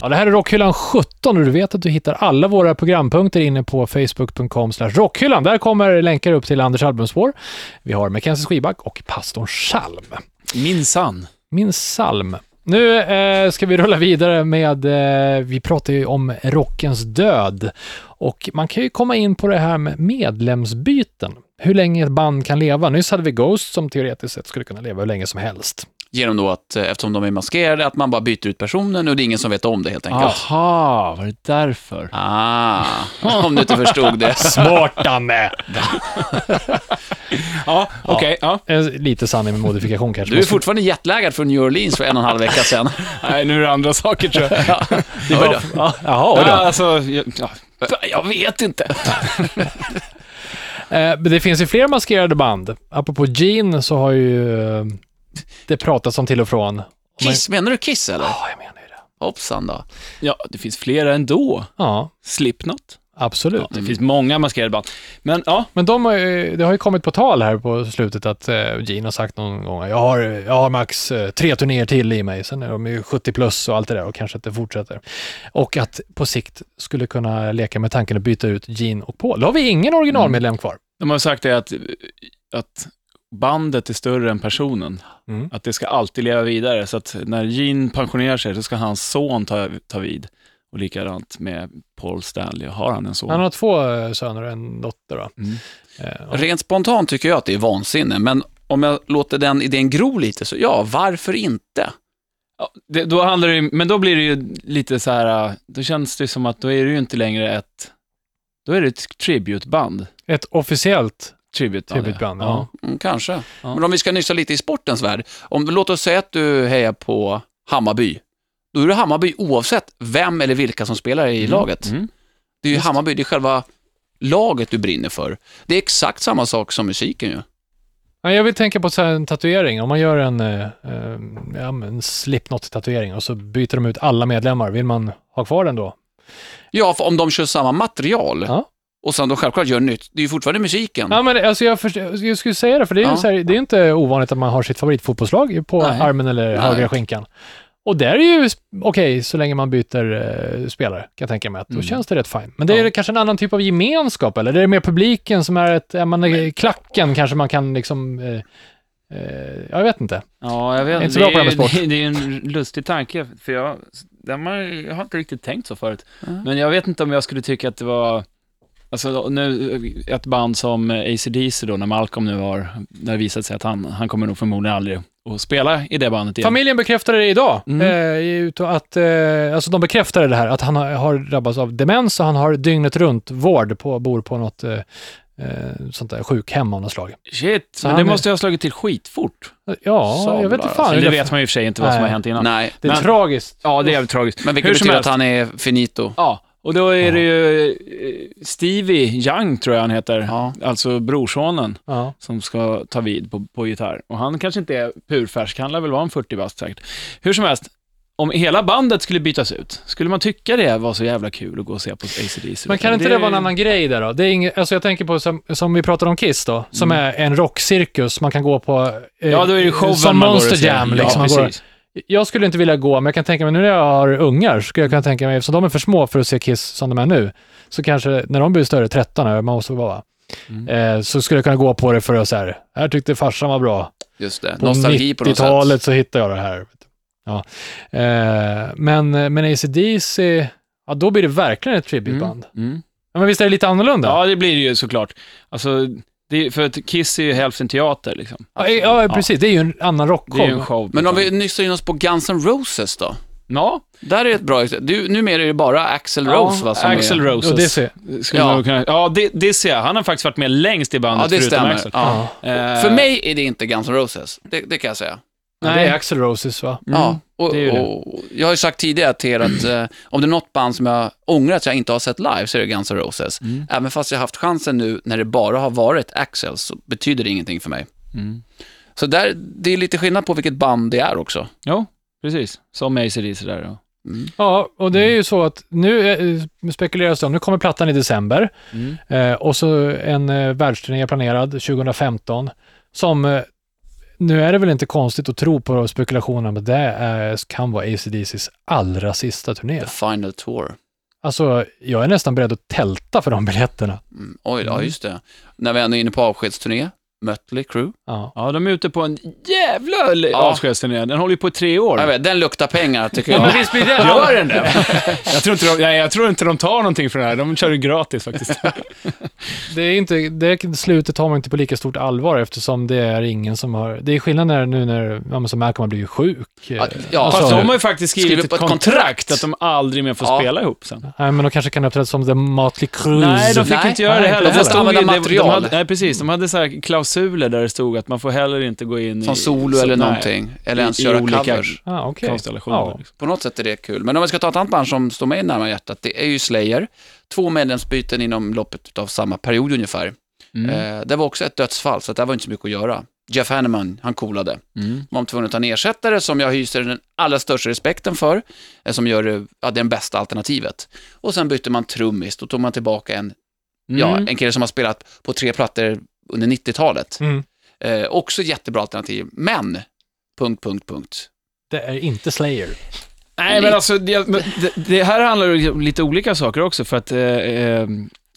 [SPEAKER 1] Ja, det här är Rockhyllan 17 och du vet att du hittar alla våra programpunkter inne på facebook.com slash rockhyllan. Där kommer länkar upp till Anders albumspår. Vi har Mackenzie Skiback och pastorn Salm.
[SPEAKER 4] Minsann.
[SPEAKER 1] Min salm. Nu eh, ska vi rulla vidare med, eh, vi pratar ju om rockens död. Och man kan ju komma in på det här med medlemsbyten. Hur länge ett band kan leva. Nyss hade vi Ghost som teoretiskt sett skulle kunna leva hur länge som helst.
[SPEAKER 3] Genom då att, eh, eftersom de är maskerade, att man bara byter ut personen och det är ingen som vet om det helt enkelt.
[SPEAKER 4] Aha, var det därför?
[SPEAKER 3] Ah, om du inte förstod det.
[SPEAKER 1] Smart Danne!
[SPEAKER 4] Ja, okej. ja.
[SPEAKER 1] Eh, Lite sanning med modifikation kanske.
[SPEAKER 3] Du är
[SPEAKER 1] måste-
[SPEAKER 3] fortfarande jetlaggad från New Orleans för en och en halv vecka sedan.
[SPEAKER 4] Nej, nu är det andra saker tror jag. Det
[SPEAKER 3] Oj
[SPEAKER 4] var,
[SPEAKER 3] då.
[SPEAKER 4] ja,
[SPEAKER 1] Jaha, oj
[SPEAKER 4] ja,
[SPEAKER 1] då.
[SPEAKER 4] alltså, ja, ja.
[SPEAKER 3] Jag vet inte.
[SPEAKER 1] Eh, men det finns ju fler maskerade band. Apropå Gene så har ju eh, det pratats om till och från.
[SPEAKER 3] Kiss, menar du Kiss eller?
[SPEAKER 1] Ja, jag menar ju det.
[SPEAKER 3] Hoppsan då.
[SPEAKER 4] ja, det finns flera ändå.
[SPEAKER 1] Ja,
[SPEAKER 4] Slipknot.
[SPEAKER 1] absolut.
[SPEAKER 4] Ja, det finns många maskerade band. Men ja,
[SPEAKER 1] Men de har ju, det har ju kommit på tal här på slutet att eh, Gene har sagt någon gång jag har, jag har max eh, tre turnéer till i mig, sen är de ju 70 plus och allt det där och kanske att det fortsätter. Och att på sikt skulle kunna leka med tanken att byta ut Gene och Paul. Då har vi ingen originalmedlem kvar.
[SPEAKER 4] de har sagt det att, att bandet är större än personen.
[SPEAKER 1] Mm.
[SPEAKER 4] Att det ska alltid leva vidare. Så att när Gene pensionerar sig så ska hans son ta, ta vid. Och likadant med Paul Stanley. Har han en son?
[SPEAKER 1] Han har två eh, söner och en dotter. Då.
[SPEAKER 4] Mm.
[SPEAKER 1] Eh, och-
[SPEAKER 3] Rent spontant tycker jag att det är vansinne, men om jag låter den idén gro lite, så ja, varför inte?
[SPEAKER 4] Ja, det, då handlar det ju, men då blir det ju lite så här, äh, då känns det som att då är det ju inte längre ett, då är det ett tributeband.
[SPEAKER 1] ett officiellt
[SPEAKER 4] Tributeband,
[SPEAKER 1] tributeband.
[SPEAKER 4] ja.
[SPEAKER 1] Ja.
[SPEAKER 3] Mm, kanske.
[SPEAKER 4] Ja.
[SPEAKER 3] Men om vi ska nysta lite i sportens värld, om låt oss säga att du hejar på Hammarby, då är det Hammarby oavsett vem eller vilka som spelar i laget.
[SPEAKER 4] Mm.
[SPEAKER 3] Det är ju Hammarby, det är själva laget du brinner för. Det är exakt samma sak som musiken ju.
[SPEAKER 1] Ja, Jag vill tänka på så här en tatuering. Om man gör en, eh, eh, ja, men en Slipknot-tatuering och så byter de ut alla medlemmar, vill man ha kvar den
[SPEAKER 3] Mm.
[SPEAKER 1] då?
[SPEAKER 3] Ja, för om de kör samma material
[SPEAKER 1] Ja.
[SPEAKER 3] och sen de självklart gör nytt, det är ju fortfarande musiken.
[SPEAKER 1] Ja, men alltså jag, förstår, jag skulle säga det, för det är, ju
[SPEAKER 3] Ja.
[SPEAKER 1] så här, det är inte ovanligt att man har sitt favoritfotbollslag på
[SPEAKER 3] Nej.
[SPEAKER 1] armen eller högra skinkan. Och där är ju sp- okej, så länge man byter eh, spelare, kan jag tänka mig. Att då
[SPEAKER 3] Mm.
[SPEAKER 1] känns det rätt fint. Men det är kanske en annan typ av gemenskap, eller? Det är mer publiken som är ett... Är man, eh, klacken kanske man kan liksom... Eh, eh, jag vet inte.
[SPEAKER 4] Ja, jag vet
[SPEAKER 1] är inte så
[SPEAKER 4] det
[SPEAKER 1] bra på det här
[SPEAKER 4] ju-
[SPEAKER 1] med sport.
[SPEAKER 4] Det, det är ju en lustig tanke, för jag, den har, jag har inte riktigt tänkt så förut. Men jag vet inte om jag skulle tycka att det var, alltså nu, ett band som AC/DC då, när Malcolm nu har, det har visat sig att han, han kommer nog förmodligen aldrig att spela i det bandet igen.
[SPEAKER 1] Familjen bekräftade det idag.
[SPEAKER 4] Mm.
[SPEAKER 1] Eh, ut- och att, eh, alltså de bekräftade det här, att han har, har drabbats av demens och han har dygnet runt vård, på, bor på något eh, eh, sånt där sjukhem av något slag.
[SPEAKER 4] Shit,
[SPEAKER 1] Så
[SPEAKER 4] men det
[SPEAKER 1] han är-
[SPEAKER 4] måste jag ha slagit till skitfort.
[SPEAKER 1] Ja,
[SPEAKER 3] Sablar,
[SPEAKER 1] jag vet inte fan.
[SPEAKER 4] Eller det
[SPEAKER 1] det,
[SPEAKER 4] vet man ju i och för sig inte vad som
[SPEAKER 1] Nej.
[SPEAKER 4] har hänt innan.
[SPEAKER 3] Nej,
[SPEAKER 1] det är
[SPEAKER 4] men-
[SPEAKER 1] tragiskt.
[SPEAKER 4] Ja, det är jävligt tragiskt.
[SPEAKER 3] men vilket
[SPEAKER 4] Hur som
[SPEAKER 3] betyder att
[SPEAKER 4] helst.
[SPEAKER 3] han är finito.
[SPEAKER 4] Ja, och då är det ju eh, Stevie Young, tror jag han heter,
[SPEAKER 3] Ja.
[SPEAKER 4] alltså brorsonen,
[SPEAKER 1] Ja.
[SPEAKER 4] som ska ta vid på, på gitarr. Och han kanske inte är purfärsk, han lär väl vara en 40 bast säkert. Hur som helst, om hela bandet skulle bytas ut, skulle man tycka det var så jävla kul att gå och se på AC/DC?
[SPEAKER 1] Men kan inte det, vara en annan grej där då? Det är inget, alltså jag tänker på, som, som vi pratade om Kiss då, som är en rockcirkus man kan gå på. eh,
[SPEAKER 4] Mm. Ja, då är det showen
[SPEAKER 1] Som
[SPEAKER 4] man går och
[SPEAKER 1] Monster
[SPEAKER 4] ser.
[SPEAKER 1] Jam.
[SPEAKER 4] Ja,
[SPEAKER 1] Liksom, man går,
[SPEAKER 4] precis.
[SPEAKER 1] jag skulle inte vilja gå, men jag kan tänka mig nu när jag har ungar, så skulle jag kunna tänka mig, eftersom de är för små för att se Kiss som de är nu, så kanske när de blir större, 13 är man måste vara, va? eh, så skulle jag kunna gå på det för att så här, här tyckte farsan var bra.
[SPEAKER 3] Just det,
[SPEAKER 1] På
[SPEAKER 3] nostalgi på något sätt.
[SPEAKER 1] 90-talet så hittade jag det här. vet du. Ja. Eh, men, men ACDC, ja då blir det verkligen ett tributeband.
[SPEAKER 4] Mm.
[SPEAKER 1] Ja, men visst är det lite annorlunda?
[SPEAKER 4] Ja, det blir det ju såklart. Alltså, det är, för att Kiss är ju hälften teater liksom.
[SPEAKER 1] Ja, ja, precis. Det är ju en annan
[SPEAKER 4] Det är ju en
[SPEAKER 1] rockshow.
[SPEAKER 4] show. liksom.
[SPEAKER 3] Men om vi nystar in oss på Guns N' Roses då?
[SPEAKER 4] Ja,
[SPEAKER 3] Där är ett bra exempel. Du, numera är det bara Axel Rose va, som
[SPEAKER 4] Axel
[SPEAKER 3] är...
[SPEAKER 4] Roses.
[SPEAKER 1] Och det ser-
[SPEAKER 4] Skulle
[SPEAKER 3] Ja.
[SPEAKER 4] man kunna, ja, det, det ser jag. Han har faktiskt varit med längst i
[SPEAKER 3] Ja,
[SPEAKER 4] bandet
[SPEAKER 3] det
[SPEAKER 4] förutom
[SPEAKER 3] stämmer.
[SPEAKER 4] Axel.
[SPEAKER 3] Ja.
[SPEAKER 4] Eh,
[SPEAKER 3] För mig är det inte Guns N' Roses, det, det kan jag säga.
[SPEAKER 1] Nej. Det är Axl Roses va?
[SPEAKER 4] Mm,
[SPEAKER 3] ja, och,
[SPEAKER 4] det är ju det.
[SPEAKER 3] och, jag har ju sagt tidigare till er att eh, om det är något band som jag ångrar att jag inte har sett live så är det Guns N' Roses.
[SPEAKER 4] Mm,
[SPEAKER 3] Även fast jag har haft chansen nu när det bara har varit Axel så betyder det ingenting för mig.
[SPEAKER 4] Mm.
[SPEAKER 3] Så där, det är lite skillnad på vilket band det är också. Mm.
[SPEAKER 4] Jo, precis. Som ACDC där. Och.
[SPEAKER 1] Ja, och det är ju så att nu eh, spekuleras det om, nu kommer plattan i december
[SPEAKER 4] Mm.
[SPEAKER 1] eh, och så en eh, världsturné planerad 2015 som, eh, nu är det väl inte konstigt att tro på spekulationerna, men det är, kan vara ACDCs allra sista turné.
[SPEAKER 3] The Final Tour.
[SPEAKER 1] Alltså, jag är nästan beredd att tälta för de biljetterna.
[SPEAKER 3] Mm. Oj, ja just det. När vi ändå är inne på avskedsturné, Mötley Crew.
[SPEAKER 1] Ja.
[SPEAKER 4] Ja, de är ute på en jävla ja. avskedsturné. Den håller ju på i tre år.
[SPEAKER 3] Jag
[SPEAKER 4] Jag,
[SPEAKER 3] vet, den luktar pengar tycker jag.
[SPEAKER 1] visst blir det? Gör den det?
[SPEAKER 4] tror inte de, nej, jag tror inte de tar någonting för det här. De kör det gratis faktiskt.
[SPEAKER 1] Det, är inte, det slutet tar man inte på lika stort allvar eftersom det är ingen som har... Det är skillnad när, nu när ja, men som Malcolm har blivit sjuk.
[SPEAKER 3] Ja, ja,
[SPEAKER 1] Alltså,
[SPEAKER 4] Fast
[SPEAKER 1] nu-
[SPEAKER 4] de har ju faktiskt skrivit
[SPEAKER 3] Skrivit
[SPEAKER 4] ett
[SPEAKER 3] på ett
[SPEAKER 4] kontrakt,
[SPEAKER 3] kontrakt.
[SPEAKER 4] att de aldrig mer får
[SPEAKER 3] Ja.
[SPEAKER 4] spela ihop sen.
[SPEAKER 1] Nej, men de kanske kan uppträda som The Motley Crue.
[SPEAKER 4] Nej, de fick
[SPEAKER 3] Nej.
[SPEAKER 4] inte göra
[SPEAKER 1] Nej,
[SPEAKER 4] det heller.
[SPEAKER 1] de får
[SPEAKER 4] Det
[SPEAKER 1] inte
[SPEAKER 4] stod
[SPEAKER 3] använda
[SPEAKER 4] ju- det-
[SPEAKER 3] material.
[SPEAKER 4] De hade, nej, precis. De hade så här klausuler där det stod att man får heller inte gå in
[SPEAKER 3] som
[SPEAKER 4] i...
[SPEAKER 3] solo eller
[SPEAKER 4] nej,
[SPEAKER 3] någonting. Eller
[SPEAKER 4] i-
[SPEAKER 3] ens
[SPEAKER 4] i
[SPEAKER 3] göra
[SPEAKER 4] olika
[SPEAKER 3] covers.
[SPEAKER 1] Ah, okay.
[SPEAKER 4] Konstellationer.
[SPEAKER 1] Ja.
[SPEAKER 4] liksom.
[SPEAKER 3] På något sätt är det kul. Men om vi ska ta ett annat band som står mig närmare hjärtat, det är ju Slayer. Två medlemsbyten inom loppet av samma period ungefär.
[SPEAKER 4] Mm.
[SPEAKER 3] Eh, det var också ett dödsfall, så att det var inte så mycket att göra. Jeff Hanneman, han coolade.
[SPEAKER 4] Mm.
[SPEAKER 3] De var tvungna att ta en ersättare som jag hyser den allra största respekten för, eh, som gör det- ja, det bästa alternativet. Och sen bytte man trummis, då tog man tillbaka en, ja,
[SPEAKER 4] Mm.
[SPEAKER 3] en kille som har spelat på tre plattor under 90-talet.
[SPEAKER 1] Mm.
[SPEAKER 3] Eh, också jättebra alternativ, men... Punkt, punkt, punkt.
[SPEAKER 1] Det är inte Slayer.
[SPEAKER 4] Nej, men alltså det, men det, det här handlar ju om lite olika saker också för att eh, eh,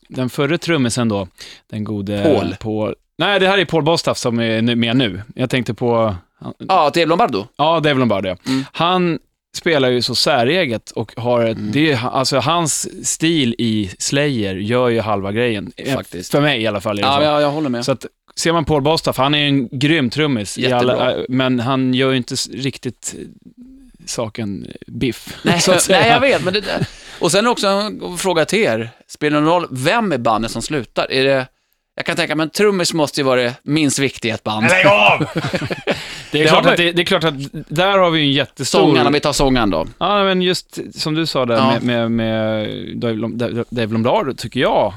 [SPEAKER 4] den förre trummisen då, den gode...
[SPEAKER 3] Paul.
[SPEAKER 4] nej, det här är Paul Bostaff som är nu- med nu. Jag tänkte på...
[SPEAKER 3] Ja, Dave Lombardo.
[SPEAKER 4] Ja, det är väl nog bara det.
[SPEAKER 3] Mm.
[SPEAKER 4] Han spelar ju så säreget och har ett,
[SPEAKER 3] Mm.
[SPEAKER 4] det är, alltså hans stil i Slayer gör ju halva grejen.
[SPEAKER 3] Faktiskt.
[SPEAKER 4] För mig i alla fall. Är det
[SPEAKER 3] Ja,
[SPEAKER 4] så.
[SPEAKER 3] jag, jag håller med.
[SPEAKER 4] Så att, ser man Paul Bostaff, han är ju en grym trummis, i
[SPEAKER 3] Jättebra.
[SPEAKER 4] alla, äh, men han gör ju inte s- riktigt eh, saken biff.
[SPEAKER 3] Nej,
[SPEAKER 4] så att säga.
[SPEAKER 3] nej jag vet. Men det, och sen också en fråga till er. Spelar det någon roll vem är bandet som slutar? Är det, jag kan tänka mig, en trummis måste ju vara det minst viktiga i ett band.
[SPEAKER 4] Lägg av! det, är
[SPEAKER 1] Det har
[SPEAKER 4] klart
[SPEAKER 1] vi-
[SPEAKER 4] att det, det är klart att där har vi ju en jättestor...
[SPEAKER 3] Sångaren, om vi tar sångaren då.
[SPEAKER 4] Ja, men just som du sa där
[SPEAKER 3] Ja.
[SPEAKER 4] med, med, med Dave Lom- Dave- Dave Lombardo, tycker jag,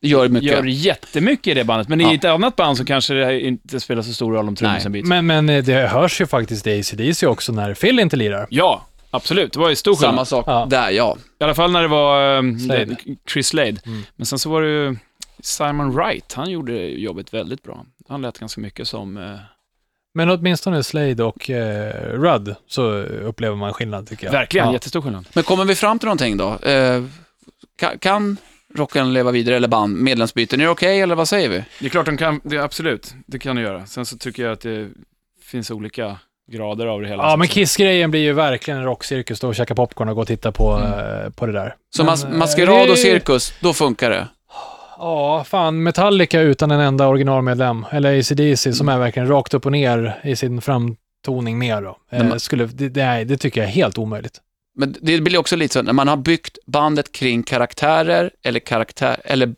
[SPEAKER 3] Det gör mycket.
[SPEAKER 4] gör jättemycket i det bandet. Men
[SPEAKER 3] Ja.
[SPEAKER 4] i ett annat band så kanske det här inte spelar så stor roll om trummisen byts.
[SPEAKER 1] Men, men eh, det hörs ju faktiskt i ACDC också när Phil inte lirar.
[SPEAKER 4] Ja, absolut. Det var ju stor skillnad.
[SPEAKER 3] Samma sak
[SPEAKER 1] Ja.
[SPEAKER 3] där, ja.
[SPEAKER 4] I alla fall när det var ehm,
[SPEAKER 1] Slade.
[SPEAKER 4] det- Chris Slade. Men sen så var det ju Simon Wright. Han gjorde jobbet väldigt bra. Han lät ganska mycket som... eh,
[SPEAKER 1] Men åtminstone Slade och eh, Rudd så upplever man skillnad tycker jag.
[SPEAKER 4] Verkligen,
[SPEAKER 1] Ja.
[SPEAKER 4] jättestor skillnad.
[SPEAKER 3] Men kommer vi fram till någonting då? Eh, kan, kan rocken leva vidare eller band? Medlemsbyten, är det okej eller vad säger vi?
[SPEAKER 4] Det är klart de kan, det, absolut, det kan du göra. Sen så tycker jag att det finns olika grader av det hela.
[SPEAKER 1] Ja, men Kiss-grejen blir ju verkligen en rockcirkus. Då och käka popcorn och gå och titta på,
[SPEAKER 4] Mm.
[SPEAKER 1] eh, på det där.
[SPEAKER 3] Så
[SPEAKER 1] Men,
[SPEAKER 3] mas-
[SPEAKER 1] eh,
[SPEAKER 3] maskerad
[SPEAKER 1] det-
[SPEAKER 3] och cirkus, då funkar det.
[SPEAKER 1] Ja, fan. Metallica utan en enda originalmedlem, eller ACDC, som är verkligen rakt upp och ner i sin framtoning mer då. Eh,
[SPEAKER 3] Men man-
[SPEAKER 1] skulle, det, det, nej, det tycker jag är helt omöjligt.
[SPEAKER 3] Men det blir också lite så, när man har byggt bandet kring karaktärer eller karaktär, eller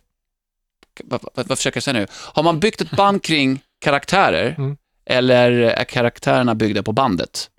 [SPEAKER 3] vad, vad, vad försöker jag säga nu? Har man byggt ett band kring karaktärer
[SPEAKER 1] Mm.
[SPEAKER 3] eller är karaktärerna byggda på bandet?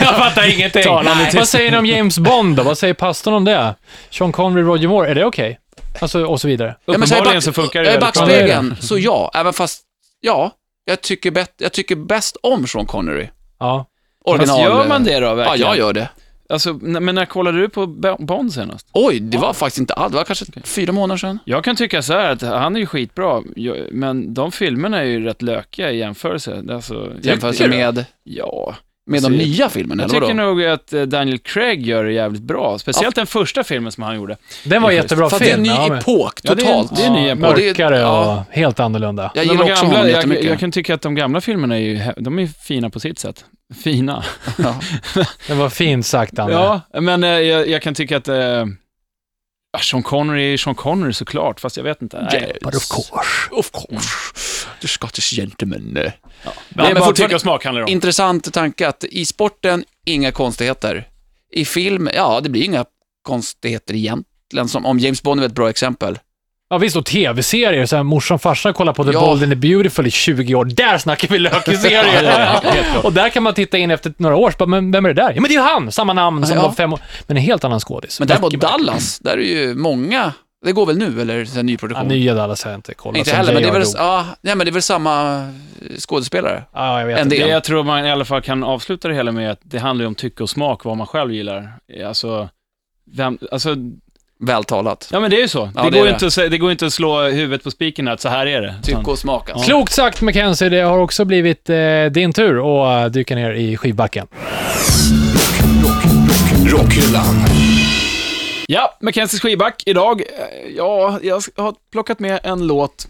[SPEAKER 1] Jag fattar ingenting.
[SPEAKER 4] Talande tyst.
[SPEAKER 1] Vad säger ni om James Bond då? Vad säger pastorn om det? Sean Connery, Roger Moore, är det okej? Alltså, och så vidare.
[SPEAKER 3] så här i
[SPEAKER 4] Uppenbarligen
[SPEAKER 3] back-
[SPEAKER 4] så funkar det
[SPEAKER 3] jag är I
[SPEAKER 4] väldigt bra.
[SPEAKER 3] backspegeln, så ja, även fast, ja, jag tycker, bet, jag tycker bäst om Sean Connery.
[SPEAKER 1] Ja.
[SPEAKER 3] Original.
[SPEAKER 4] Fast gör man det då
[SPEAKER 3] Ja,
[SPEAKER 4] verkligen?
[SPEAKER 3] jag gör det.
[SPEAKER 4] Alltså, n- men när kollade du på Bo- Bond senast?
[SPEAKER 3] Oj, det var faktiskt inte alls, det var kanske fyra månader sedan.
[SPEAKER 4] Jag kan tycka så här att han är ju skitbra, jag- men de filmerna är ju rätt lökiga i jämförelse. Alltså,
[SPEAKER 3] Jämförelse med,
[SPEAKER 4] Ja.
[SPEAKER 3] med de
[SPEAKER 4] Alltså,
[SPEAKER 3] nya filmerna,
[SPEAKER 4] Jag
[SPEAKER 3] eller
[SPEAKER 4] tycker
[SPEAKER 3] vadå?
[SPEAKER 4] nog att eh, Daniel Craig gör det jävligt bra. Speciellt den första filmen som han gjorde.
[SPEAKER 1] Den var jättebra
[SPEAKER 3] För att det är en
[SPEAKER 1] film.
[SPEAKER 3] ny
[SPEAKER 1] ja, men-
[SPEAKER 3] epok,
[SPEAKER 4] Ja, det är-
[SPEAKER 3] totalt.
[SPEAKER 4] det är en ny epok.
[SPEAKER 3] Och det-
[SPEAKER 1] Mörkare och
[SPEAKER 3] ja,
[SPEAKER 1] helt annorlunda.
[SPEAKER 3] Jag
[SPEAKER 4] Men
[SPEAKER 3] gillar
[SPEAKER 4] de
[SPEAKER 3] också
[SPEAKER 4] gamla,
[SPEAKER 3] honom
[SPEAKER 4] jag,
[SPEAKER 3] jättemycket.
[SPEAKER 4] jag kan tycka att de gamla filmerna är ju he- de är ju fina på sitt sätt. Fina.
[SPEAKER 3] Ja.
[SPEAKER 1] Den var fint sagt, Anna.
[SPEAKER 4] Ja, men eh, jag, jag kan tycka att eh, ja, Sean Connery är Sean Connery såklart, fast jag vet inte. Nej.
[SPEAKER 1] But of course.
[SPEAKER 3] Of course. The Scottish Gentleman.
[SPEAKER 4] Ja, men
[SPEAKER 3] bara-
[SPEAKER 4] fortfarande smak handlar det om.
[SPEAKER 3] Intressant tanke att i sporten, inga konstigheter. I film, ja, det blir inga konstigheter egentligen. Som, om James Bond är ett bra exempel.
[SPEAKER 1] Ja visst, och tv-serier. Så här, morsan och farsan kollar på The
[SPEAKER 3] Ja.
[SPEAKER 1] Bold and the Beautiful i 20 år. Där snackar vi lökiserier! och där kan man titta in efter några år, så bara, men vem är det där? Ja men det är ju han! Samma namn som
[SPEAKER 3] Ja.
[SPEAKER 1] var fem år. Men en helt annan skådis.
[SPEAKER 3] Men däremot
[SPEAKER 1] Mycket bättre.
[SPEAKER 3] Dallas, där är ju många, det går väl nu, eller så här,
[SPEAKER 1] Ja,
[SPEAKER 3] nyproduktion?
[SPEAKER 1] nya Dallas har jag inte kollat.
[SPEAKER 3] inte
[SPEAKER 1] sen
[SPEAKER 3] heller, men det, är
[SPEAKER 1] J.R.
[SPEAKER 3] väl,
[SPEAKER 1] dog.
[SPEAKER 3] ja, nej, men det är väl samma eh, skådespelare?
[SPEAKER 1] Ja, jag vet
[SPEAKER 3] en
[SPEAKER 1] inte.
[SPEAKER 3] del.
[SPEAKER 4] Det jag tror man i alla fall kan avsluta det hela med att det handlar ju om tycke och smak, vad man själv gillar. Alltså, vem, alltså
[SPEAKER 3] Vältalat.
[SPEAKER 4] ja men det är ju så.
[SPEAKER 3] Ja, det
[SPEAKER 4] det, går
[SPEAKER 3] är
[SPEAKER 4] ju
[SPEAKER 3] det.
[SPEAKER 4] Inte att, sä- det går ju inte att slå huvudet på spiken här, att så här är det. Utan-
[SPEAKER 3] Tycke och smak alltså.
[SPEAKER 1] Klokt sagt Mackenzie, det har också blivit eh, din tur att eh, dyka ner i skivbacken.
[SPEAKER 2] Rockhyllan.
[SPEAKER 4] Ja, Mackenzies skivback idag. Eh, Ja, jag har plockat med en låt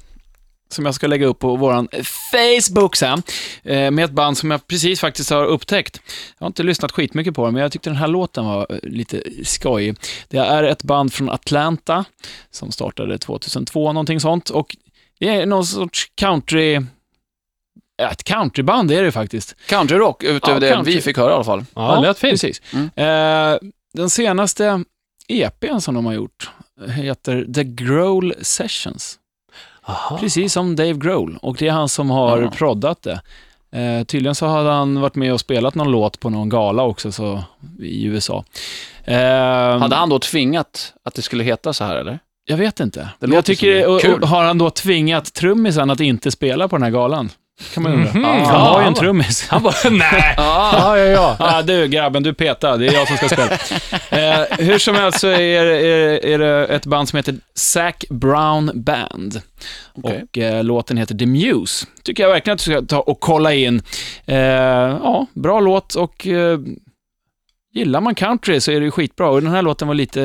[SPEAKER 4] som jag ska lägga upp på våran Facebook sen, eh, med ett band som jag precis faktiskt har upptäckt. Jag har inte lyssnat skitmycket på det, men jag tyckte den här låten var eh, lite skojig. Det är ett band från Atlanta som startade 2002, någonting sånt, och det är någon sorts country... ja, Ett countryband är det faktiskt.
[SPEAKER 3] Countryrock, utöver
[SPEAKER 4] Ja,
[SPEAKER 3] det
[SPEAKER 4] country.
[SPEAKER 3] vi fick höra i alla fall.
[SPEAKER 1] Ja, det lät fint.
[SPEAKER 4] Precis.
[SPEAKER 3] Mm.
[SPEAKER 4] Eh, den senaste EPn som de har gjort heter The Growl Sessions.
[SPEAKER 1] Aha.
[SPEAKER 4] Precis som Dave Grohl och det är han som har
[SPEAKER 3] Ah. Ja.
[SPEAKER 4] proddat det. Eh, tydligen så hade han varit med och spelat någon låt på någon gala också så, i USA. Eh,
[SPEAKER 1] Mm.
[SPEAKER 3] Hade han då tvingat att det skulle heta så här, eller?
[SPEAKER 4] Jag vet inte.
[SPEAKER 3] Det
[SPEAKER 4] Men jag
[SPEAKER 3] låter som det.
[SPEAKER 4] tycker, och,
[SPEAKER 3] Kul.
[SPEAKER 4] och, har han då tvingat trummisen att inte spela på den här galan? Kan man undra.
[SPEAKER 1] Mhm.
[SPEAKER 4] Han
[SPEAKER 1] Ja,
[SPEAKER 4] var
[SPEAKER 1] han
[SPEAKER 4] ju en
[SPEAKER 1] var-
[SPEAKER 4] trummis.
[SPEAKER 1] Han bara, nej.
[SPEAKER 3] Ja,
[SPEAKER 1] Ja, ja, ja.
[SPEAKER 4] Ah, du grabben, du peta. Det är jag som ska spela. eh, hur som helst så är, det- är, är det ett band som heter Zac Brown Band.
[SPEAKER 3] Okej.
[SPEAKER 4] Och eh, låten heter The Muse. Tycker jag verkligen att du ska ta och kolla in. Eh, ja, bra låt och eh, gillar man country så är det ju skitbra. Och den här låten var lite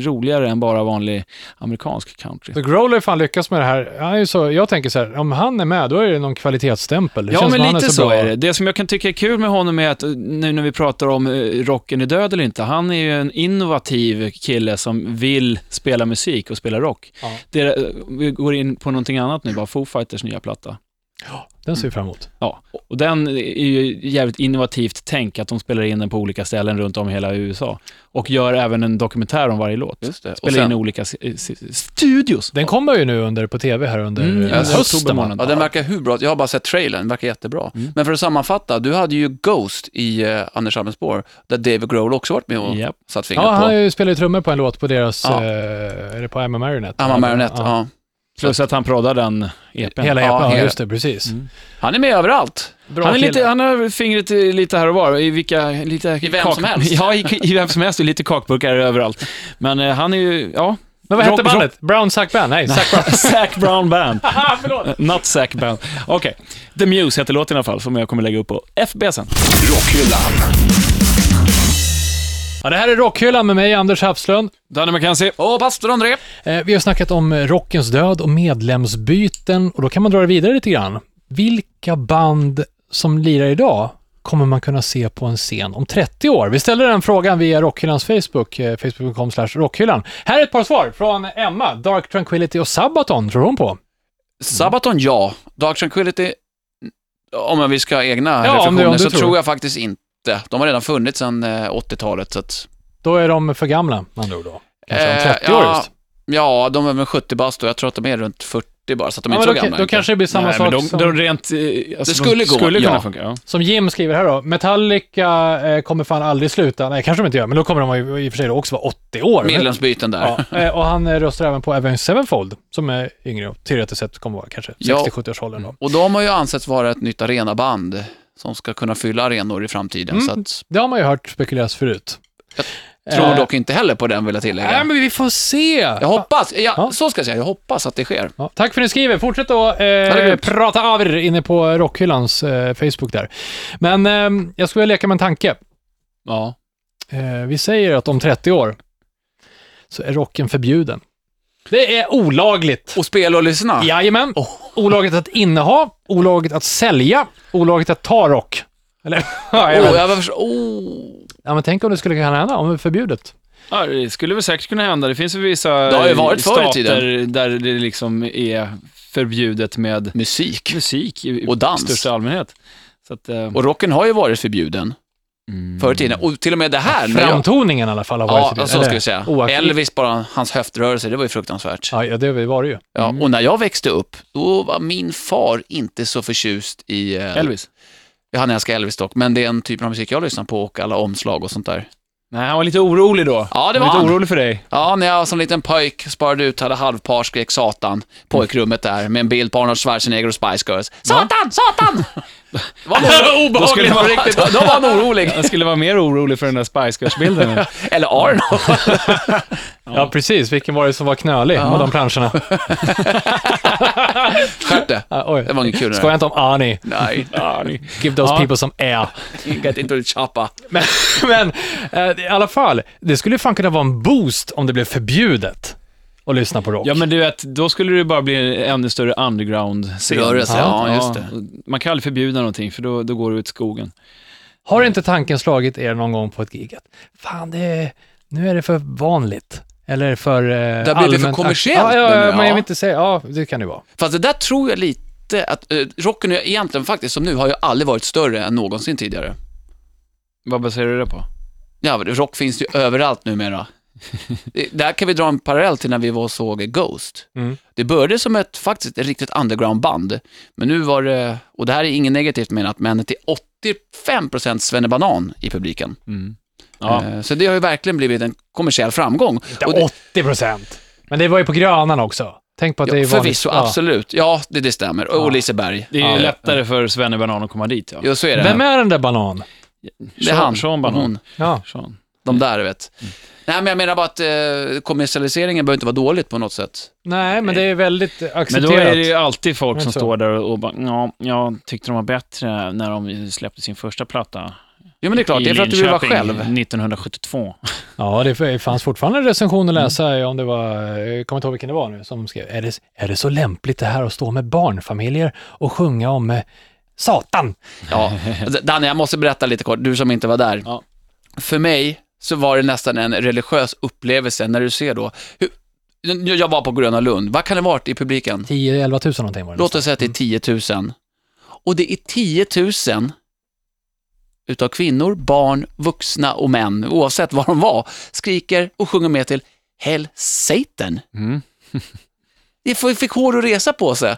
[SPEAKER 4] roligare än bara vanlig amerikansk country.
[SPEAKER 1] Så Growler fan lyckas med det här. Han är ju så, jag tänker så här, om han är med, då är det någon kvalitetsstämpel. Det
[SPEAKER 4] Ja,
[SPEAKER 1] känns som
[SPEAKER 4] men
[SPEAKER 1] han
[SPEAKER 4] lite
[SPEAKER 1] är
[SPEAKER 4] så,
[SPEAKER 1] så, bra.
[SPEAKER 4] är det. Det som jag kan tycka är kul med honom är att eh, nu när vi pratar om eh, rocken är död eller inte, han är ju en innovativ kille som vill spela musik och spela rock.
[SPEAKER 1] Ja.
[SPEAKER 4] Det, eh, vi går in på någonting annat nu, bara Foo Fighters nya platta.
[SPEAKER 1] Den ser vi fram emot.
[SPEAKER 4] Ja, och den är ju jävligt innovativt tänk att de spelar in den på olika ställen runt om i hela USA. Och gör även en dokumentär om varje låt.
[SPEAKER 3] just det. Och
[SPEAKER 4] Spelar in
[SPEAKER 3] sen,
[SPEAKER 4] olika s- s- studios.
[SPEAKER 1] Den kommer ju nu under, på tv här under
[SPEAKER 4] Mm,
[SPEAKER 1] eh,
[SPEAKER 4] ja,
[SPEAKER 3] under
[SPEAKER 1] hösten.
[SPEAKER 4] oktober
[SPEAKER 1] va?
[SPEAKER 3] ja, den verkar hur bra? Jag har bara sett trailern, den verkar jättebra. Men för att sammanfatta, du hade ju Ghost i eh, Anders Albins spår, där David Grohl också varit med
[SPEAKER 1] Mm.
[SPEAKER 3] och
[SPEAKER 4] Japp.
[SPEAKER 3] satt fingret
[SPEAKER 1] Ja, han har
[SPEAKER 3] på.
[SPEAKER 1] ju spelar ju trummor på en låt på deras,
[SPEAKER 3] Ja.
[SPEAKER 1] eh, är det på I'm a Marionette?
[SPEAKER 3] Han var marionett, ja.
[SPEAKER 4] Plus att han proddar den EPn.
[SPEAKER 1] Hela
[SPEAKER 3] Ja,
[SPEAKER 1] EPn, ja,
[SPEAKER 3] hela.
[SPEAKER 1] just det, precis.
[SPEAKER 4] Mm.
[SPEAKER 3] Han är med överallt.
[SPEAKER 1] Bra
[SPEAKER 4] han, är lite,
[SPEAKER 1] kille.
[SPEAKER 4] han har fingret i- lite här och var, i vilka... Lite I
[SPEAKER 3] vem som helst.
[SPEAKER 4] Ja, i, i vem som helst och lite kakburkar överallt. Men eh, han är ju, ja...
[SPEAKER 1] Men vad hette
[SPEAKER 4] Rock-
[SPEAKER 1] bandet? Brown Sack Band? Nej, Sack Brown.
[SPEAKER 4] Zac Brown Band.
[SPEAKER 1] Ah, förlåt.
[SPEAKER 4] Not Zac Band. Okej. The Muse heter låten i alla fall, som jag kommer lägga upp på FB sen.
[SPEAKER 2] Rockhyllan.
[SPEAKER 1] Ja, det här är Rockhyllan med mig, Anders Hafslund.
[SPEAKER 4] Danny McKenzie.
[SPEAKER 3] Åh, pastor André!
[SPEAKER 1] Eh, Vi har snackat om rockens död och medlemsbyten och då kan man dra det vidare lite grann. Vilka band som lirar idag kommer man kunna se på en scen om 30 år? Vi ställer den frågan via Rockhyllans Facebook, eh, facebook.com slash rockhyllan. Här är ett par svar från Emma. Dark Tranquility och Sabaton tror hon på.
[SPEAKER 3] Sabaton, ja. Dark Tranquility, om vi ska ha egna
[SPEAKER 1] om du-
[SPEAKER 3] reflektioner,
[SPEAKER 1] om du
[SPEAKER 3] så
[SPEAKER 1] tror.
[SPEAKER 3] tror. jag faktiskt inte. De har redan funnits sedan eh, 80-talet, så att...
[SPEAKER 1] Då är de för gamla, med andra ord då. Kanske om
[SPEAKER 3] Eh,
[SPEAKER 1] 30 år
[SPEAKER 3] ja,
[SPEAKER 1] just.
[SPEAKER 3] Ja, de är väl 70 bast och jag tror att de är runt 40 bara, så att de är
[SPEAKER 1] Ja,
[SPEAKER 3] inte
[SPEAKER 1] men
[SPEAKER 3] så
[SPEAKER 1] då,
[SPEAKER 3] gamla.
[SPEAKER 1] då
[SPEAKER 3] inte.
[SPEAKER 1] kanske det blir samma
[SPEAKER 4] Nej,
[SPEAKER 1] sak
[SPEAKER 4] men de,
[SPEAKER 1] som,
[SPEAKER 4] de rent... eh, Alltså,
[SPEAKER 3] Det skulle
[SPEAKER 4] de,
[SPEAKER 3] gå,
[SPEAKER 4] skulle kunna
[SPEAKER 3] ja.
[SPEAKER 4] funka. Ja.
[SPEAKER 1] som Jim skriver här då. Metallica eh, kommer fan aldrig sluta. Nej, kanske de inte gör, men då kommer de ju i och för sig då också vara 80 år. Men-
[SPEAKER 3] Medlemsbyten där.
[SPEAKER 1] Ja, eh, och han eh, röstar även på Avenged Sevenfold, som är yngre och teoretiskt sett kommer vara kanske
[SPEAKER 3] Ja.
[SPEAKER 1] 60-70-årsåldern. då.
[SPEAKER 3] Och de har ju ansetts vara ett nytt arenaband som ska kunna fylla arenor i framtiden,
[SPEAKER 1] Mm.
[SPEAKER 3] så att...
[SPEAKER 1] Det har man ju hört spekuleras förut.
[SPEAKER 3] Tror
[SPEAKER 1] Eh,
[SPEAKER 3] dock inte heller på den, vill jag tillägga.
[SPEAKER 1] Nej, men vi får se.
[SPEAKER 3] Jag hoppas, ja,
[SPEAKER 1] Ja.
[SPEAKER 3] så ska jag säga, jag hoppas att det sker.
[SPEAKER 1] Ja, tack för att ni skriver. Fortsätt att
[SPEAKER 3] är
[SPEAKER 1] eh,
[SPEAKER 3] grymt.
[SPEAKER 1] prata av er inne på Rockhyllans eh, Facebook där. Men ehm, jag skulle vilja leka med en tanke.
[SPEAKER 4] Ja.
[SPEAKER 1] Eh, vi säger att om 30 år så är rocken förbjuden. Det är olagligt.
[SPEAKER 3] Och spela och lyssna.
[SPEAKER 1] Jajamän.
[SPEAKER 3] Oh.
[SPEAKER 1] Olagligt att inneha, olagligt att sälja, olagligt att ta rock. Eller?
[SPEAKER 3] Åh,
[SPEAKER 1] Jajamän.
[SPEAKER 3] jag var för... oh.
[SPEAKER 1] Ja, men tänk om det skulle kunna hända, om det är förbjudet.
[SPEAKER 4] Ja, det skulle väl säkert kunna hända. Det finns ju vissa eh,
[SPEAKER 3] Det har ju varit förr i
[SPEAKER 4] stater
[SPEAKER 3] tiden.
[SPEAKER 4] där det liksom är förbjudet med
[SPEAKER 3] Musik
[SPEAKER 4] musik i, i
[SPEAKER 3] och dans.
[SPEAKER 4] största allmänhet. Så att, eh,
[SPEAKER 3] Mm.
[SPEAKER 4] mm.
[SPEAKER 3] Och rocken har ju varit förbjuden förr i tiden. Och till och med det här. när jag-
[SPEAKER 1] Framtoningen i alla fall har
[SPEAKER 3] Ja,
[SPEAKER 1] varit...
[SPEAKER 3] så
[SPEAKER 1] eller
[SPEAKER 3] ska vi säga.
[SPEAKER 1] oak-
[SPEAKER 3] Elvis, bara hans höftrörelser, det var ju fruktansvärt.
[SPEAKER 1] Ja, ja, det var det ju.
[SPEAKER 3] Ja,
[SPEAKER 4] Mm.
[SPEAKER 3] och när jag växte upp, då var min far inte så förtjust i... eh,
[SPEAKER 4] Elvis?
[SPEAKER 3] Ja, han älskar Elvis dock, men det är en typ av musik jag lyssnar på och alla omslag och sånt där.
[SPEAKER 4] Nej, han var lite orolig då.
[SPEAKER 3] Ja, det var
[SPEAKER 4] han.
[SPEAKER 3] han.
[SPEAKER 4] Lite orolig för dig.
[SPEAKER 3] Ja, när jag som liten pojk sparade ut, hade halvpar, skrek satan. Pojkrummet där med en bild på Arnold Schwarzenegger och Spice Girls. Satan, satan! Det var nog
[SPEAKER 4] Då skulle
[SPEAKER 3] obehagligt på
[SPEAKER 4] man-
[SPEAKER 3] riktigt. Då var han orolig.
[SPEAKER 4] Han skulle vara mer orolig för den där Spice Girls-bilden.
[SPEAKER 3] Eller Arnold.
[SPEAKER 1] Ja, precis. Vilken var det som var knölig av de planscherna?
[SPEAKER 3] Skärp det.
[SPEAKER 1] Ah, oj.
[SPEAKER 3] Det var inget kul det där.
[SPEAKER 1] Skoja inte om Arnie.
[SPEAKER 3] Nej,
[SPEAKER 1] Give those
[SPEAKER 4] Ja.
[SPEAKER 1] people some air.
[SPEAKER 3] get into the choppa.
[SPEAKER 1] Men, men eh, i alla fall, det skulle fan kunna vara en boost om det blev förbjudet att lyssna på rock.
[SPEAKER 4] Ja, men du vet, då skulle det bara bli en ännu större underground-scen.
[SPEAKER 3] Rörelse, ja, just det.
[SPEAKER 4] Man kan aldrig förbjuda någonting, för då, då går det ut i skogen.
[SPEAKER 1] Har inte tanken slagit er någon gång på ett gig att fan, det är, nu är det för vanligt? Eller för eh, Det
[SPEAKER 3] för
[SPEAKER 1] Ja,
[SPEAKER 3] kommersiellt,
[SPEAKER 1] ja,
[SPEAKER 3] menar
[SPEAKER 1] ja,
[SPEAKER 3] jag.
[SPEAKER 1] men jag vill inte säga, ja, det kan det vara.
[SPEAKER 3] Fast det där tror jag lite att eh, rocken har ju egentligen faktiskt som nu har ju aldrig varit större än någonsin tidigare.
[SPEAKER 4] Vad baserar du det på?
[SPEAKER 3] Ja, rock finns ju överallt numera. Det- Där kan vi dra en parallell till när vi var och såg Ghost.
[SPEAKER 1] Mm.
[SPEAKER 3] Det började som ett faktiskt ett riktigt undergroundband, men nu var det, och det här är inget negativt menat, men till 85% svennebanan i publiken.
[SPEAKER 4] Ja.
[SPEAKER 3] Eh, Så det har ju verkligen blivit en kommersiell framgång.
[SPEAKER 1] Inte
[SPEAKER 3] Och det-
[SPEAKER 1] 80 procent. Men det var ju på Grönan också. Tänk på att det är
[SPEAKER 3] Ja,
[SPEAKER 1] vanligt.
[SPEAKER 3] förvisso,
[SPEAKER 1] ja.
[SPEAKER 3] absolut. Ja, det, det stämmer. Och Liseberg.
[SPEAKER 4] Det är ju
[SPEAKER 3] ja.
[SPEAKER 4] lättare för Svenne Banan att komma dit, ja.
[SPEAKER 3] Ja, så är det.
[SPEAKER 1] Vem är den där banan?
[SPEAKER 3] det är han. Mm.
[SPEAKER 4] Sean
[SPEAKER 3] och
[SPEAKER 4] Banan.
[SPEAKER 3] hon.
[SPEAKER 1] Ja.
[SPEAKER 4] Sean.
[SPEAKER 3] De där, du vet.
[SPEAKER 4] Mm.
[SPEAKER 3] Nej, men jag menar bara att eh, kommersialiseringen behöver inte vara dåligt på något sätt.
[SPEAKER 1] Nej, men det är väldigt
[SPEAKER 4] Men
[SPEAKER 1] accepterat.
[SPEAKER 4] då är det ju alltid folk
[SPEAKER 1] Men
[SPEAKER 4] som
[SPEAKER 1] så.
[SPEAKER 4] står där och och bara, ja, jag tyckte de var bättre när de släppte sin första platta.
[SPEAKER 3] Jo, men det är klart.
[SPEAKER 4] i
[SPEAKER 3] Det är för att du vill vara
[SPEAKER 4] Linköping
[SPEAKER 3] själv.
[SPEAKER 4] 1972.
[SPEAKER 1] Ja, det fanns fortfarande en recension att läsa om det var, jag kommer inte ihåg vilken det var nu, som skrev, är det, är det så lämpligt det här att stå med barnfamiljer och sjunga om eh, Satan?
[SPEAKER 3] Ja. Alltså, Danne, jag måste berätta lite kort, du som inte var där.
[SPEAKER 4] Ja.
[SPEAKER 3] För mig så var det nästan en religiös upplevelse när du ser då, hur, jag- jag var på Gröna Lund, vad kan det varit i publiken?
[SPEAKER 1] 10-11 tusen någonting var det. Mm.
[SPEAKER 3] Låt oss säga att det är 10 000. Och det är 10 000 utav kvinnor, barn, vuxna och män, oavsett vad de var, skriker och sjunger med till Hell Satan.
[SPEAKER 4] Mm.
[SPEAKER 3] Det får- fick hår att resa på sig, eh,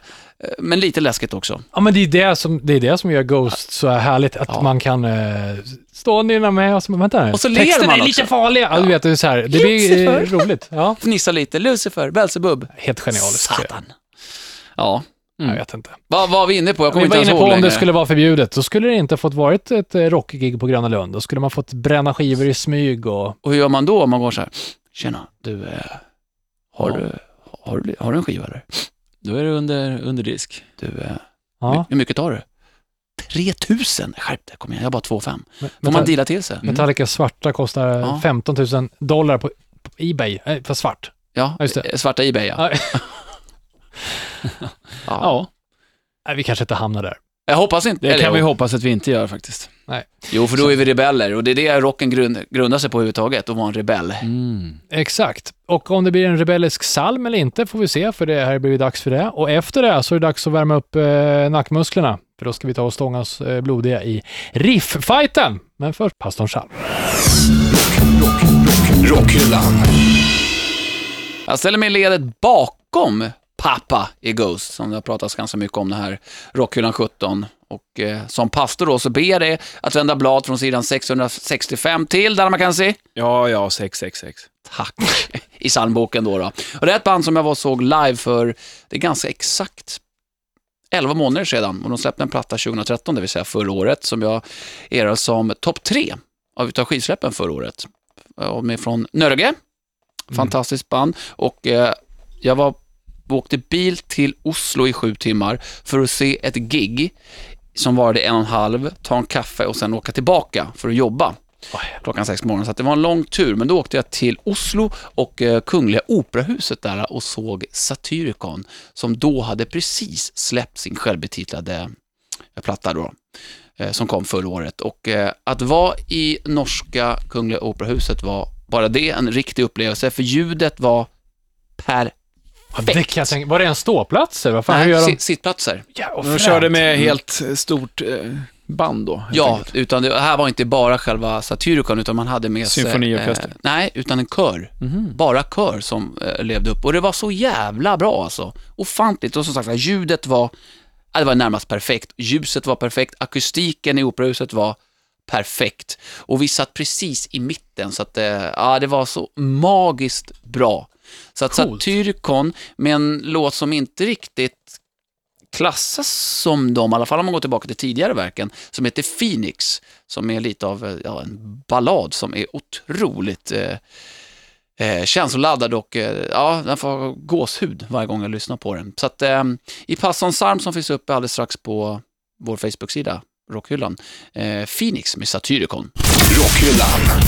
[SPEAKER 3] men lite läskigt också.
[SPEAKER 1] Ja, men det är det som, det är det som gör Ghost så härligt, att
[SPEAKER 3] Ja.
[SPEAKER 1] man kan eh, stå ner med och så, vänta nu,
[SPEAKER 3] Och så ler
[SPEAKER 1] texten
[SPEAKER 3] man
[SPEAKER 1] är lite
[SPEAKER 3] också.
[SPEAKER 1] farlig. Ja, du vet, det är så här, det blir eh, roligt. Ja,
[SPEAKER 3] Fnissa lite, Lucifer, Belzebub,
[SPEAKER 1] helt genialiskt.
[SPEAKER 3] Satan. Ja,
[SPEAKER 1] Jag vet inte.
[SPEAKER 3] vad var vi inne på? Mm. Jag kommer
[SPEAKER 1] Vi var
[SPEAKER 3] inte ens
[SPEAKER 1] inne på
[SPEAKER 3] ihåg
[SPEAKER 1] om
[SPEAKER 3] längre.
[SPEAKER 1] det skulle vara förbjudet, då skulle det inte fått varit ett eh, rockgig på Gröna Lund. Då skulle man fått bränna skivor i smyg och...
[SPEAKER 3] Och hur gör man då om man går så här, tjena, du, eh, har, du, har, du, bli- har du en skiva där?
[SPEAKER 4] Då är det under, under disk.
[SPEAKER 3] Du, eh,
[SPEAKER 1] Ja.
[SPEAKER 3] hur mycket tar du? 3000, skärp dig, kom igen, jag har bara 2 5.
[SPEAKER 1] Men-
[SPEAKER 3] Får man deala till sig? Mm.
[SPEAKER 1] Metallica svarta kostar
[SPEAKER 3] Ja.
[SPEAKER 1] 15 000 dollar på, på Ebay, eh, för svart.
[SPEAKER 3] Ja,
[SPEAKER 1] Ja, just det.
[SPEAKER 3] eh, svarta Ebay ja.
[SPEAKER 1] Ja.
[SPEAKER 3] ja.
[SPEAKER 4] Ja,
[SPEAKER 1] Nej, vi kanske inte hamnar där.
[SPEAKER 3] Jag hoppas inte,
[SPEAKER 4] det
[SPEAKER 3] eller
[SPEAKER 4] kan vi
[SPEAKER 3] jo.
[SPEAKER 4] hoppas att vi inte gör faktiskt.
[SPEAKER 3] jo, för då är vi rebeller och det är det rocken grund, grundar sig på överhuvudtaget, att vara en rebell.
[SPEAKER 1] Mm. Exakt. Och om det blir en rebellisk psalm eller inte får vi se, för det här blir ju dags för det. Och efter det så är det dags att värma upp eh, nackmusklerna, för då ska vi ta och stånga oss eh, blodiga i riff-fighten. Men först pastorn Chalm.
[SPEAKER 2] Rockhyllan.
[SPEAKER 3] Jag ställer mig i ledet bakom pappa i Ghost, som det har pratats ganska mycket om det här, Rockhyllan 17. Och eh, som pastor då så ber jag dig att vända blad från sidan 665 till, där man kan se.
[SPEAKER 4] Ja, ja, 666.
[SPEAKER 3] Tack. I psalmboken då, då. Och det är ett band som jag var och såg live för, det är ganska exakt 11 månader sedan. Och de släppte en platta 2013, det vill säga förra året, som jag erade som topp tre av utav skivsläppen förra året. Och med från Nörge, fantastiskt band. Och eh, jag var, åkte bil till Oslo i sju timmar för att se ett gig som varade en och en halv, ta en kaffe och sen åka tillbaka för att jobba klockan sex på morgonen. Så att det var en lång tur, men då åkte jag till Oslo och eh, Kungliga Operahuset där och såg Satyricon som då hade precis släppt sin självbetitlade eh, platta då, eh, som kom förra året. Och eh, att vara i norska Kungliga Operahuset var bara det en riktig upplevelse, för ljudet var perfekt.
[SPEAKER 1] Det kan jag tänka. Var det en ståplats? eller Vad fan, hur
[SPEAKER 3] Nej,
[SPEAKER 1] gör de?
[SPEAKER 3] sit- sittplatser.
[SPEAKER 1] Ja, och
[SPEAKER 4] De
[SPEAKER 1] fränt.
[SPEAKER 4] körde med helt eh, stort eh, band då. helt
[SPEAKER 3] Ja,
[SPEAKER 4] enkelt.
[SPEAKER 3] utan det här var inte bara själva Satyricon, utan man hade med sig...
[SPEAKER 4] Symfoniorkester.
[SPEAKER 3] eh, nej, utan en kör. Bara kör som eh, levde upp. Och det var så jävla bra alltså. Ofantligt. Och som sagt, ljudet var, ja, det var närmast perfekt. Ljuset var perfekt. Akustiken i operahuset var perfekt. Och vi satt precis i mitten, så att eh, ja, det var så magiskt bra. Så att
[SPEAKER 1] Coolt.
[SPEAKER 3] Satyricon, med en låt som inte riktigt klassas som de, i alla fall om man går tillbaka till tidigare verken, som heter Phoenix, som är lite av eh, ja, en ballad som är otroligt eh, eh, känsloladdad och eh, ja, den får gåshud varje gång jag lyssnar på den. Så att eh, i Passons arm som finns uppe alldeles strax på vår Facebook-sida, Rockhyllan, eh, Phoenix med Satyricon.
[SPEAKER 2] Rockhyllan.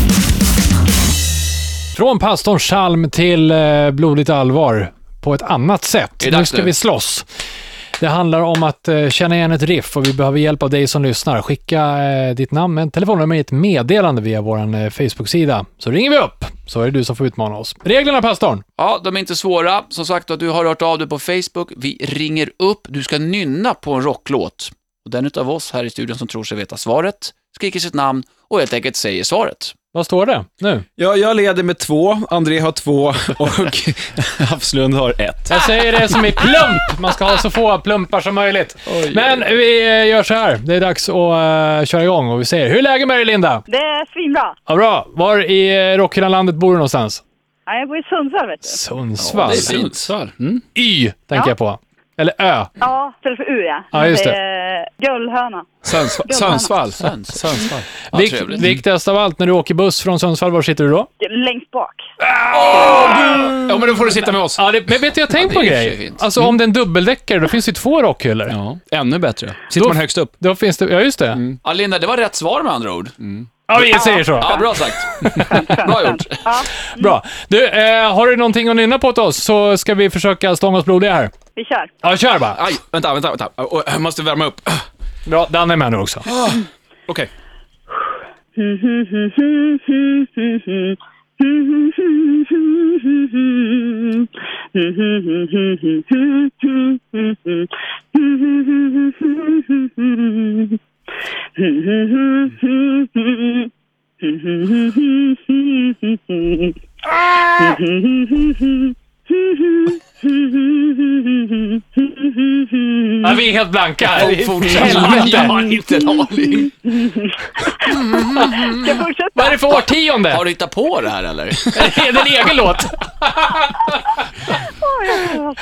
[SPEAKER 1] Från pastorns psalm till eh, blodigt allvar på ett annat sätt.
[SPEAKER 3] Det är
[SPEAKER 1] Nu
[SPEAKER 3] dags
[SPEAKER 1] ska
[SPEAKER 3] nu.
[SPEAKER 1] vi slåss. Det handlar om att eh, känna igen ett riff och vi behöver hjälp av dig som lyssnar. Skicka eh, ditt namn, ett telefonnummer i ett meddelande via vår eh, Facebook-sida. Så ringer vi upp, så är det du som får utmana oss. Reglerna, pastorn!
[SPEAKER 3] Ja, de är inte svåra. Som sagt, att du har hört av dig på Facebook. Vi ringer upp. Du ska nynna på en rocklåt. Och den utav oss här i studion som tror sig veta svaret skriker sitt namn och helt enkelt säger svaret.
[SPEAKER 1] Vad står det nu?
[SPEAKER 4] Ja, jag leder med två, André har två och Hafslund har ett.
[SPEAKER 1] Jag säger det som i plump. Man ska ha så få plumpar som möjligt. Men vi eh, gör så här. Det är dags att eh, köra igång och vi säger, hur är läget med dig Linda?
[SPEAKER 5] Det är svinbra.
[SPEAKER 1] Ja, bra. Var i eh, Rockhyllanlandet bor du någonstans?
[SPEAKER 5] Ja, jag bor i Sundsvall, vet du.
[SPEAKER 1] Sundsvall.
[SPEAKER 4] Sundsvall. Mm.
[SPEAKER 1] Y tänker
[SPEAKER 5] Ja.
[SPEAKER 1] jag på. Eller Ö.
[SPEAKER 5] Ja, istället för U, ja.
[SPEAKER 1] Ja, just det.
[SPEAKER 5] Eh, Gullhöna.
[SPEAKER 4] Sundsvall. Sundsvall. Sundsvall.
[SPEAKER 3] Ja,
[SPEAKER 1] Vik-
[SPEAKER 3] trevligt.
[SPEAKER 1] viktigast av allt, när du åker buss från Sundsvall, var sitter du då?
[SPEAKER 5] Längst bak.
[SPEAKER 4] Ja, men då får du sitta med oss.
[SPEAKER 1] Ja, det, men vet du, jag tänkt på
[SPEAKER 3] Ja, det
[SPEAKER 1] en
[SPEAKER 3] är ju
[SPEAKER 1] grej.
[SPEAKER 3] fint.
[SPEAKER 1] Alltså om det är en dubbeldäckare, då finns det ju två rockhyllor.
[SPEAKER 4] Mm. Ja, ännu bättre. Sitter man högst upp? Mm.
[SPEAKER 1] Då finns det, ja just det.
[SPEAKER 3] Ja, Linda, det var rätt svar med andra ord.
[SPEAKER 1] Ja, vi säger så.
[SPEAKER 3] Ja, bra sagt. bra gjort.
[SPEAKER 5] Ja,
[SPEAKER 1] Bra. Du, eh, har du någonting att nynna på åt oss så ska vi försöka stånga oss blodiga här.
[SPEAKER 5] vi kör.
[SPEAKER 1] Ja, kör bara.
[SPEAKER 4] Aj, vänta, vänta, vänta. Oj, Jag måste värma upp. Okej.
[SPEAKER 1] Bra, Danne är med nu också.
[SPEAKER 5] Ah!
[SPEAKER 1] Ja, vi är helt blanka här.
[SPEAKER 3] Jag
[SPEAKER 1] Helvete.
[SPEAKER 3] har inte en aning.
[SPEAKER 5] Ska jag fortsätta?
[SPEAKER 1] Vad är det för årtionde?
[SPEAKER 3] Har du hittat på det här eller?
[SPEAKER 1] Är det en egen låt?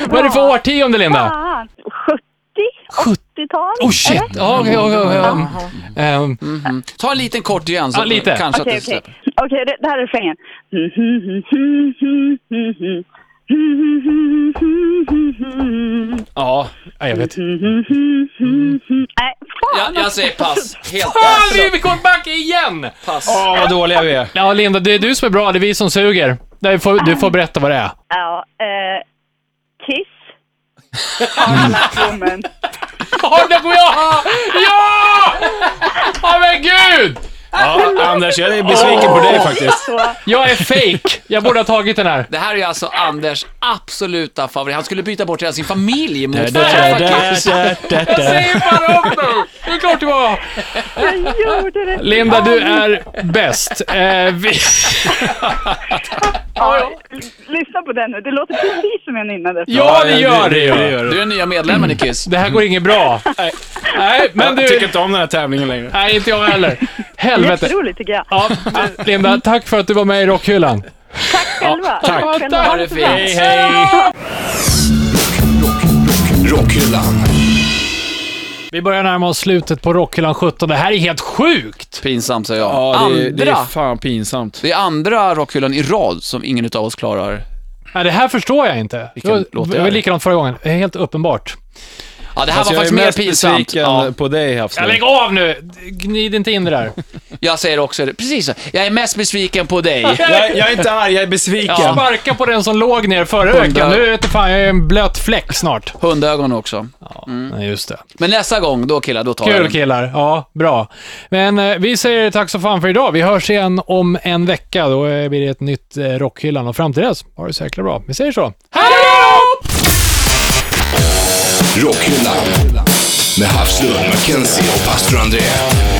[SPEAKER 1] Vad är det för årtionde, Linda?
[SPEAKER 5] Fan. 70? 80-tal?
[SPEAKER 1] Oh shit!
[SPEAKER 5] eller?
[SPEAKER 1] Ja, okej, okej, okej. Ehm,
[SPEAKER 3] Ta en liten kort igen så
[SPEAKER 1] Ja, lite.
[SPEAKER 3] kanske
[SPEAKER 5] Okej,
[SPEAKER 3] att det
[SPEAKER 5] okej.
[SPEAKER 3] släpper.
[SPEAKER 5] Okej, det- det här är refrängen.
[SPEAKER 1] Ja, ja, jag vet.
[SPEAKER 5] Nej, fan!
[SPEAKER 3] Jag, jag säger pass. Helt
[SPEAKER 1] Fan,
[SPEAKER 3] pass.
[SPEAKER 1] vi- vi kom back igen!
[SPEAKER 3] pass.
[SPEAKER 4] Åh, vad dåliga vi är.
[SPEAKER 1] Ja, Linda, det är du som är bra. Det är vi som suger. Du får, du får berätta vad det är.
[SPEAKER 5] Ja, eh, Kiss. Harlak
[SPEAKER 3] Mm.
[SPEAKER 5] Woman.
[SPEAKER 1] Har det ja! Ja! Ja, men gud!
[SPEAKER 4] Ja, Anders, jag är besviken på dig faktiskt.
[SPEAKER 5] Så,
[SPEAKER 1] Jag är fake. Jag borde ha tagit den här.
[SPEAKER 3] Det här är alltså Anders absoluta favorit. Han skulle byta bort hela sin familj mot
[SPEAKER 1] Jag säger bara upp nu! Det är klart det var!
[SPEAKER 5] jag gjorde det.
[SPEAKER 1] Linda, du är bäst. Eh, vi...
[SPEAKER 5] Ja, lyssna på den nu. Det låter precis som en innan.
[SPEAKER 1] Ja, det gör det
[SPEAKER 4] Det
[SPEAKER 1] ju.
[SPEAKER 4] gör
[SPEAKER 3] Du
[SPEAKER 4] det.
[SPEAKER 3] är nya medlemmen i Kiss.
[SPEAKER 1] Det här går inget bra. Nej, men
[SPEAKER 4] Jag tycker
[SPEAKER 1] du...
[SPEAKER 4] inte om den här tävlingen längre.
[SPEAKER 1] Nej, inte jag heller. Helvete.
[SPEAKER 5] Jätteroligt tycker jag.
[SPEAKER 1] Ja, Linda, tack för att du var med i Rockhyllan.
[SPEAKER 5] Själva.
[SPEAKER 4] tack.
[SPEAKER 5] Själva.
[SPEAKER 1] Ja, tack.
[SPEAKER 5] Ha det så bra.
[SPEAKER 3] Hej,
[SPEAKER 1] hej!
[SPEAKER 2] Rockhyllan.
[SPEAKER 1] Vi börjar närma oss slutet på Rockhyllan 17. Det här är helt sjukt!
[SPEAKER 3] Pinsamt säger jag.
[SPEAKER 4] Ja, det, är- det är
[SPEAKER 3] andra.
[SPEAKER 4] fan pinsamt.
[SPEAKER 3] Det är andra rockhyllan i rad som ingen av oss klarar.
[SPEAKER 1] Nej, det här förstår jag inte.
[SPEAKER 3] Vilken
[SPEAKER 1] det var,
[SPEAKER 3] låt det
[SPEAKER 1] det var
[SPEAKER 3] är.
[SPEAKER 1] likadant förra gången. Det är helt uppenbart.
[SPEAKER 3] Ja, det här
[SPEAKER 4] Alltså,
[SPEAKER 3] var
[SPEAKER 4] jag är
[SPEAKER 3] faktiskt mer
[SPEAKER 4] mest
[SPEAKER 3] pinsamt.
[SPEAKER 4] besviken
[SPEAKER 3] Ja,
[SPEAKER 4] på dig, Hafslund.
[SPEAKER 1] lägg av nu! Gnid inte in det där.
[SPEAKER 3] jag säger också det. Precis så. Jag är mest besviken på dig.
[SPEAKER 4] Jag, jag är inte arg, jag är besviken.
[SPEAKER 3] Ja.
[SPEAKER 1] Sparka på den som låg ner förra veckan. Nu vet du fan, jag är en blöt fläck snart.
[SPEAKER 3] Hundögon också. Mm.
[SPEAKER 1] Nej, just det.
[SPEAKER 3] Men nästa gång, då killar, då tar jag
[SPEAKER 1] Kul
[SPEAKER 3] den.
[SPEAKER 1] killar. Ja, bra. Men eh, vi säger tack så fan för idag. Vi hörs igen om en vecka. Då eh, blir det ett nytt eh, Rockhyllan och fram till dess, ha det så jäkla bra. Vi säger så. Hej då!
[SPEAKER 2] Rockhyllan med Havslund, Mackenzie och pastor André.